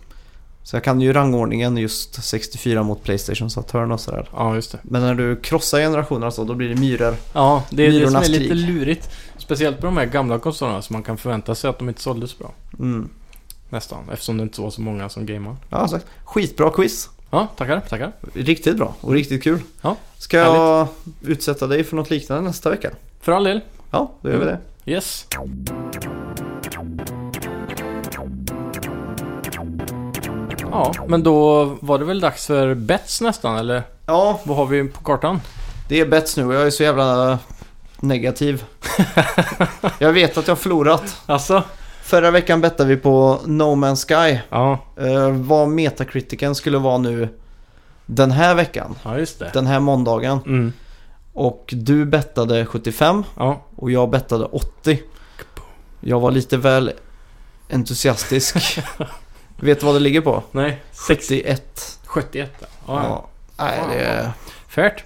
S1: Så jag kan ju rangordningen just 64 mot Playstation Saturn och sådär.
S2: Ja, just det.
S1: Men när du krossar generationerna så, då blir det myror.
S2: Ja, det är det som är
S1: Myrornas
S2: lite
S1: krig.
S2: lurigt. Speciellt på de här gamla konsolerna som man kan förvänta sig att de inte sålde så bra.
S1: Mm.
S2: Nästan. Eftersom det inte var så många som gamear.
S1: Ja, sagt. Skitbra quiz.
S2: Ja, tackar. Tackar.
S1: Riktigt bra och riktigt kul.
S2: Ja,
S1: Ska jag utsätta dig för något liknande nästa vecka?
S2: För all del.
S1: Ja, då gör vi det.
S2: Yes. Ja, men då var det väl dags för bets nästan, eller?
S1: Ja,
S2: Vad har vi på kartan?
S1: det är bets nu och jag är så jävla negativ. jag vet att jag har förlorat.
S2: Alltså?
S1: Förra veckan bettade vi på No Man's Sky.
S2: Ja,
S1: Eh, vad metakritiken skulle vara nu den här veckan.
S2: ja just det.
S1: Den här måndagen.
S2: Mm.
S1: Och du bettade 75
S2: Ja,
S1: och jag bettade 80. Jag var lite väl entusiastisk. Vet du vad det ligger på?
S2: nej.
S1: 61.
S2: 71. Ja, ja.
S1: Ja. Nej, det är...
S2: Fairt.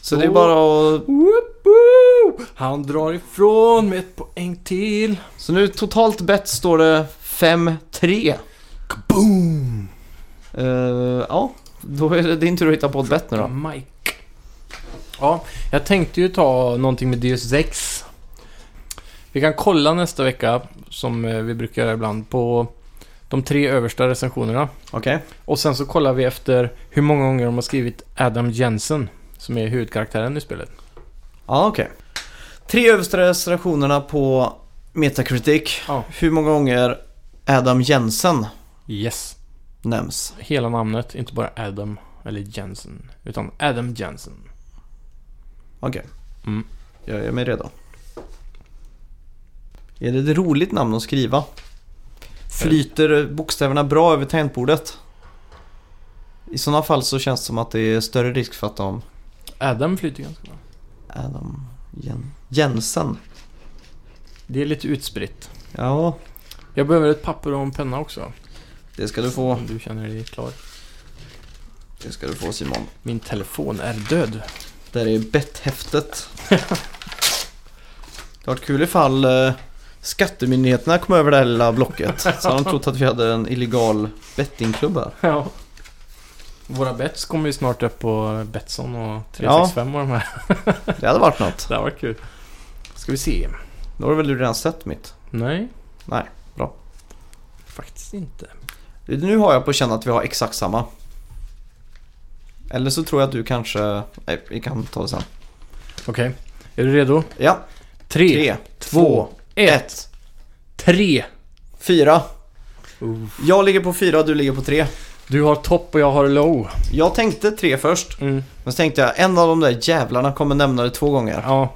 S1: Så det är bara att...
S2: Woop, woop. Han drar ifrån med ett poäng till.
S1: Så nu totalt bett står det 5-3.
S2: Boom!
S1: Eh, ja, då är det din tur att hitta på ett bett nu då.
S2: Mike. Ja, jag tänkte ju ta någonting med Deus Ex. Vi kan kolla nästa vecka, som eh, vi brukar göra ibland, på de tre översta recensionerna.
S1: Okej.
S2: Och sen så kollar vi efter hur många gånger de har skrivit Adam Jensen, som är huvudkaraktären i spelet.
S1: Ja, okej. Tre översta recensionerna på Metacritic.
S2: Ja.
S1: Hur många gånger Adam Jensen
S2: Yes.
S1: nämns?
S2: Hela namnet, inte bara Adam eller Jensen, utan Adam Jensen.
S1: Okej.
S2: Mm.
S1: Jag är mig redo. Är det ett roligt namn att skriva? Flyter bokstäverna bra över tangentbordet? I sådana fall så känns det som att det är större risk för att de...
S2: Adam flyter ganska bra.
S1: Adam Jen- Jensen.
S2: Det är lite utspritt.
S1: Ja,
S2: Jag behöver ett papper och en penna också.
S1: det ska du få.
S2: Om du känner dig klar.
S1: Det ska du få Simon.
S2: Min telefon är död.
S1: Där är betthäftet. Det hade varit kul ifall eh, skattemyndigheterna kom över det här lilla blocket. Så hade de trott att vi hade en illegal bettingklubb här.
S2: Ja. Våra bets kommer ju snart upp på Betsson och 365 och de här.
S1: Det hade varit något.
S2: Det här var kul. Ska vi se.
S1: Då har väl du redan sett mitt?
S2: Nej,
S1: Nej, bra.
S2: faktiskt inte.
S1: Nu har jag på känn att vi har exakt samma. Eller så tror jag att du kanske... Nej, vi kan ta det sen.
S2: Okej, är du redo?
S1: Ja,
S2: Tre,
S1: tre,
S2: två,
S1: två,
S2: ett,
S1: ett,
S2: tre!
S1: fyra.
S2: Uff.
S1: Jag ligger på fyra, du ligger på tre.
S2: Du har topp och jag har low.
S1: Jag tänkte tre först,
S2: Mm.
S1: men så tänkte jag en av de där jävlarna kommer nämna det två gånger.
S2: Ja.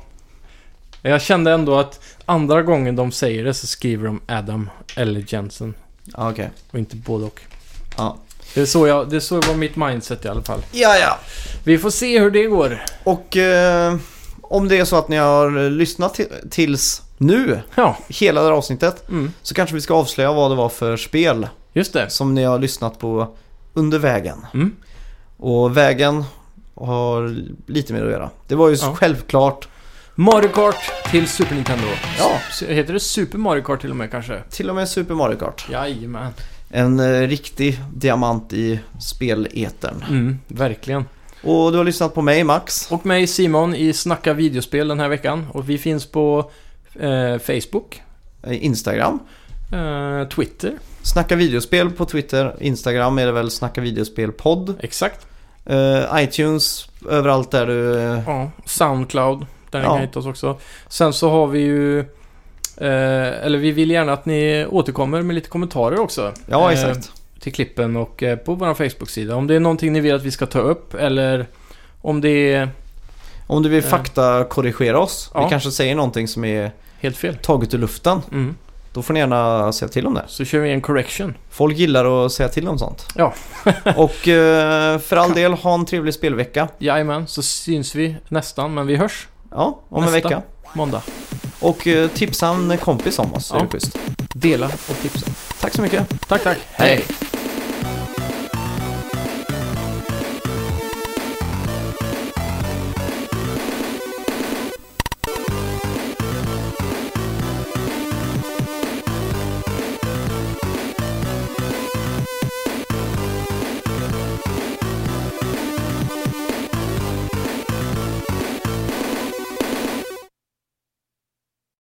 S2: Jag kände ändå att andra gången de säger det så skriver de Adam eller Jensen.
S1: Ja, okej.
S2: Och inte både och.
S1: Ja.
S2: Det är så, jag, det är så var mitt mindset i alla fall.
S1: Ja, ja.
S2: Vi får se hur det går.
S1: Och eh, om det är så att ni har lyssnat ti- tills nu,
S2: Ja,
S1: hela det här avsnittet,
S2: mm.
S1: så kanske vi ska avslöja vad det var för spel
S2: just det.
S1: som ni har lyssnat på under vägen.
S2: Mm.
S1: Och vägen har lite mer att göra. Det var ju
S2: Ja.
S1: självklart,
S2: Mario Kart till Super Nintendo.
S1: ja,
S2: S- Heter det Super Mario Kart till och med kanske?
S1: till och med Super Mario Kart.
S2: Jajamän.
S1: En eh, riktig diamant i speletern.
S2: Mm, verkligen.
S1: Och du har lyssnat på mig Max.
S2: Och mig Simon i Snacka videospel den här veckan. Och vi finns på eh, Facebook,
S1: eh, Instagram.
S2: eh, Twitter,
S1: Snacka videospel på Twitter. Instagram är det väl Snacka videospel podd.
S2: exakt.
S1: Eh, iTunes, överallt där du... eh,
S2: Ja, Soundcloud, där ni
S1: Ja.
S2: kan hitta oss också. Sen så har vi ju... Eh, eller vi vill gärna att ni återkommer med lite kommentarer också.
S1: Ja,
S2: Eh,
S1: exakt.
S2: till klippen och eh, på vår Facebook-sida. Om det är någonting ni vill att vi ska ta upp eller om det är
S1: Om du vill
S2: eh.
S1: faktakorrigera oss,
S2: Ja.
S1: vi kanske säger någonting som är
S2: helt fel.
S1: taget ur luften,
S2: Mm.
S1: då får ni gärna säga till om det.
S2: Så kör vi en correction.
S1: Folk gillar att säga till om sånt.
S2: Ja.
S1: Och eh, för all del, ha en trevlig spelvecka.
S2: Jajamän, så syns vi nästan, men vi hörs
S1: Ja, om en
S2: Nästa.
S1: vecka.
S2: måndag.
S1: Och eh, tipsa en kompis om oss,
S2: Ja.
S1: är det schysst.
S2: Dela och tipsa.
S1: Tack så mycket.
S2: Tack, tack.
S1: Hej.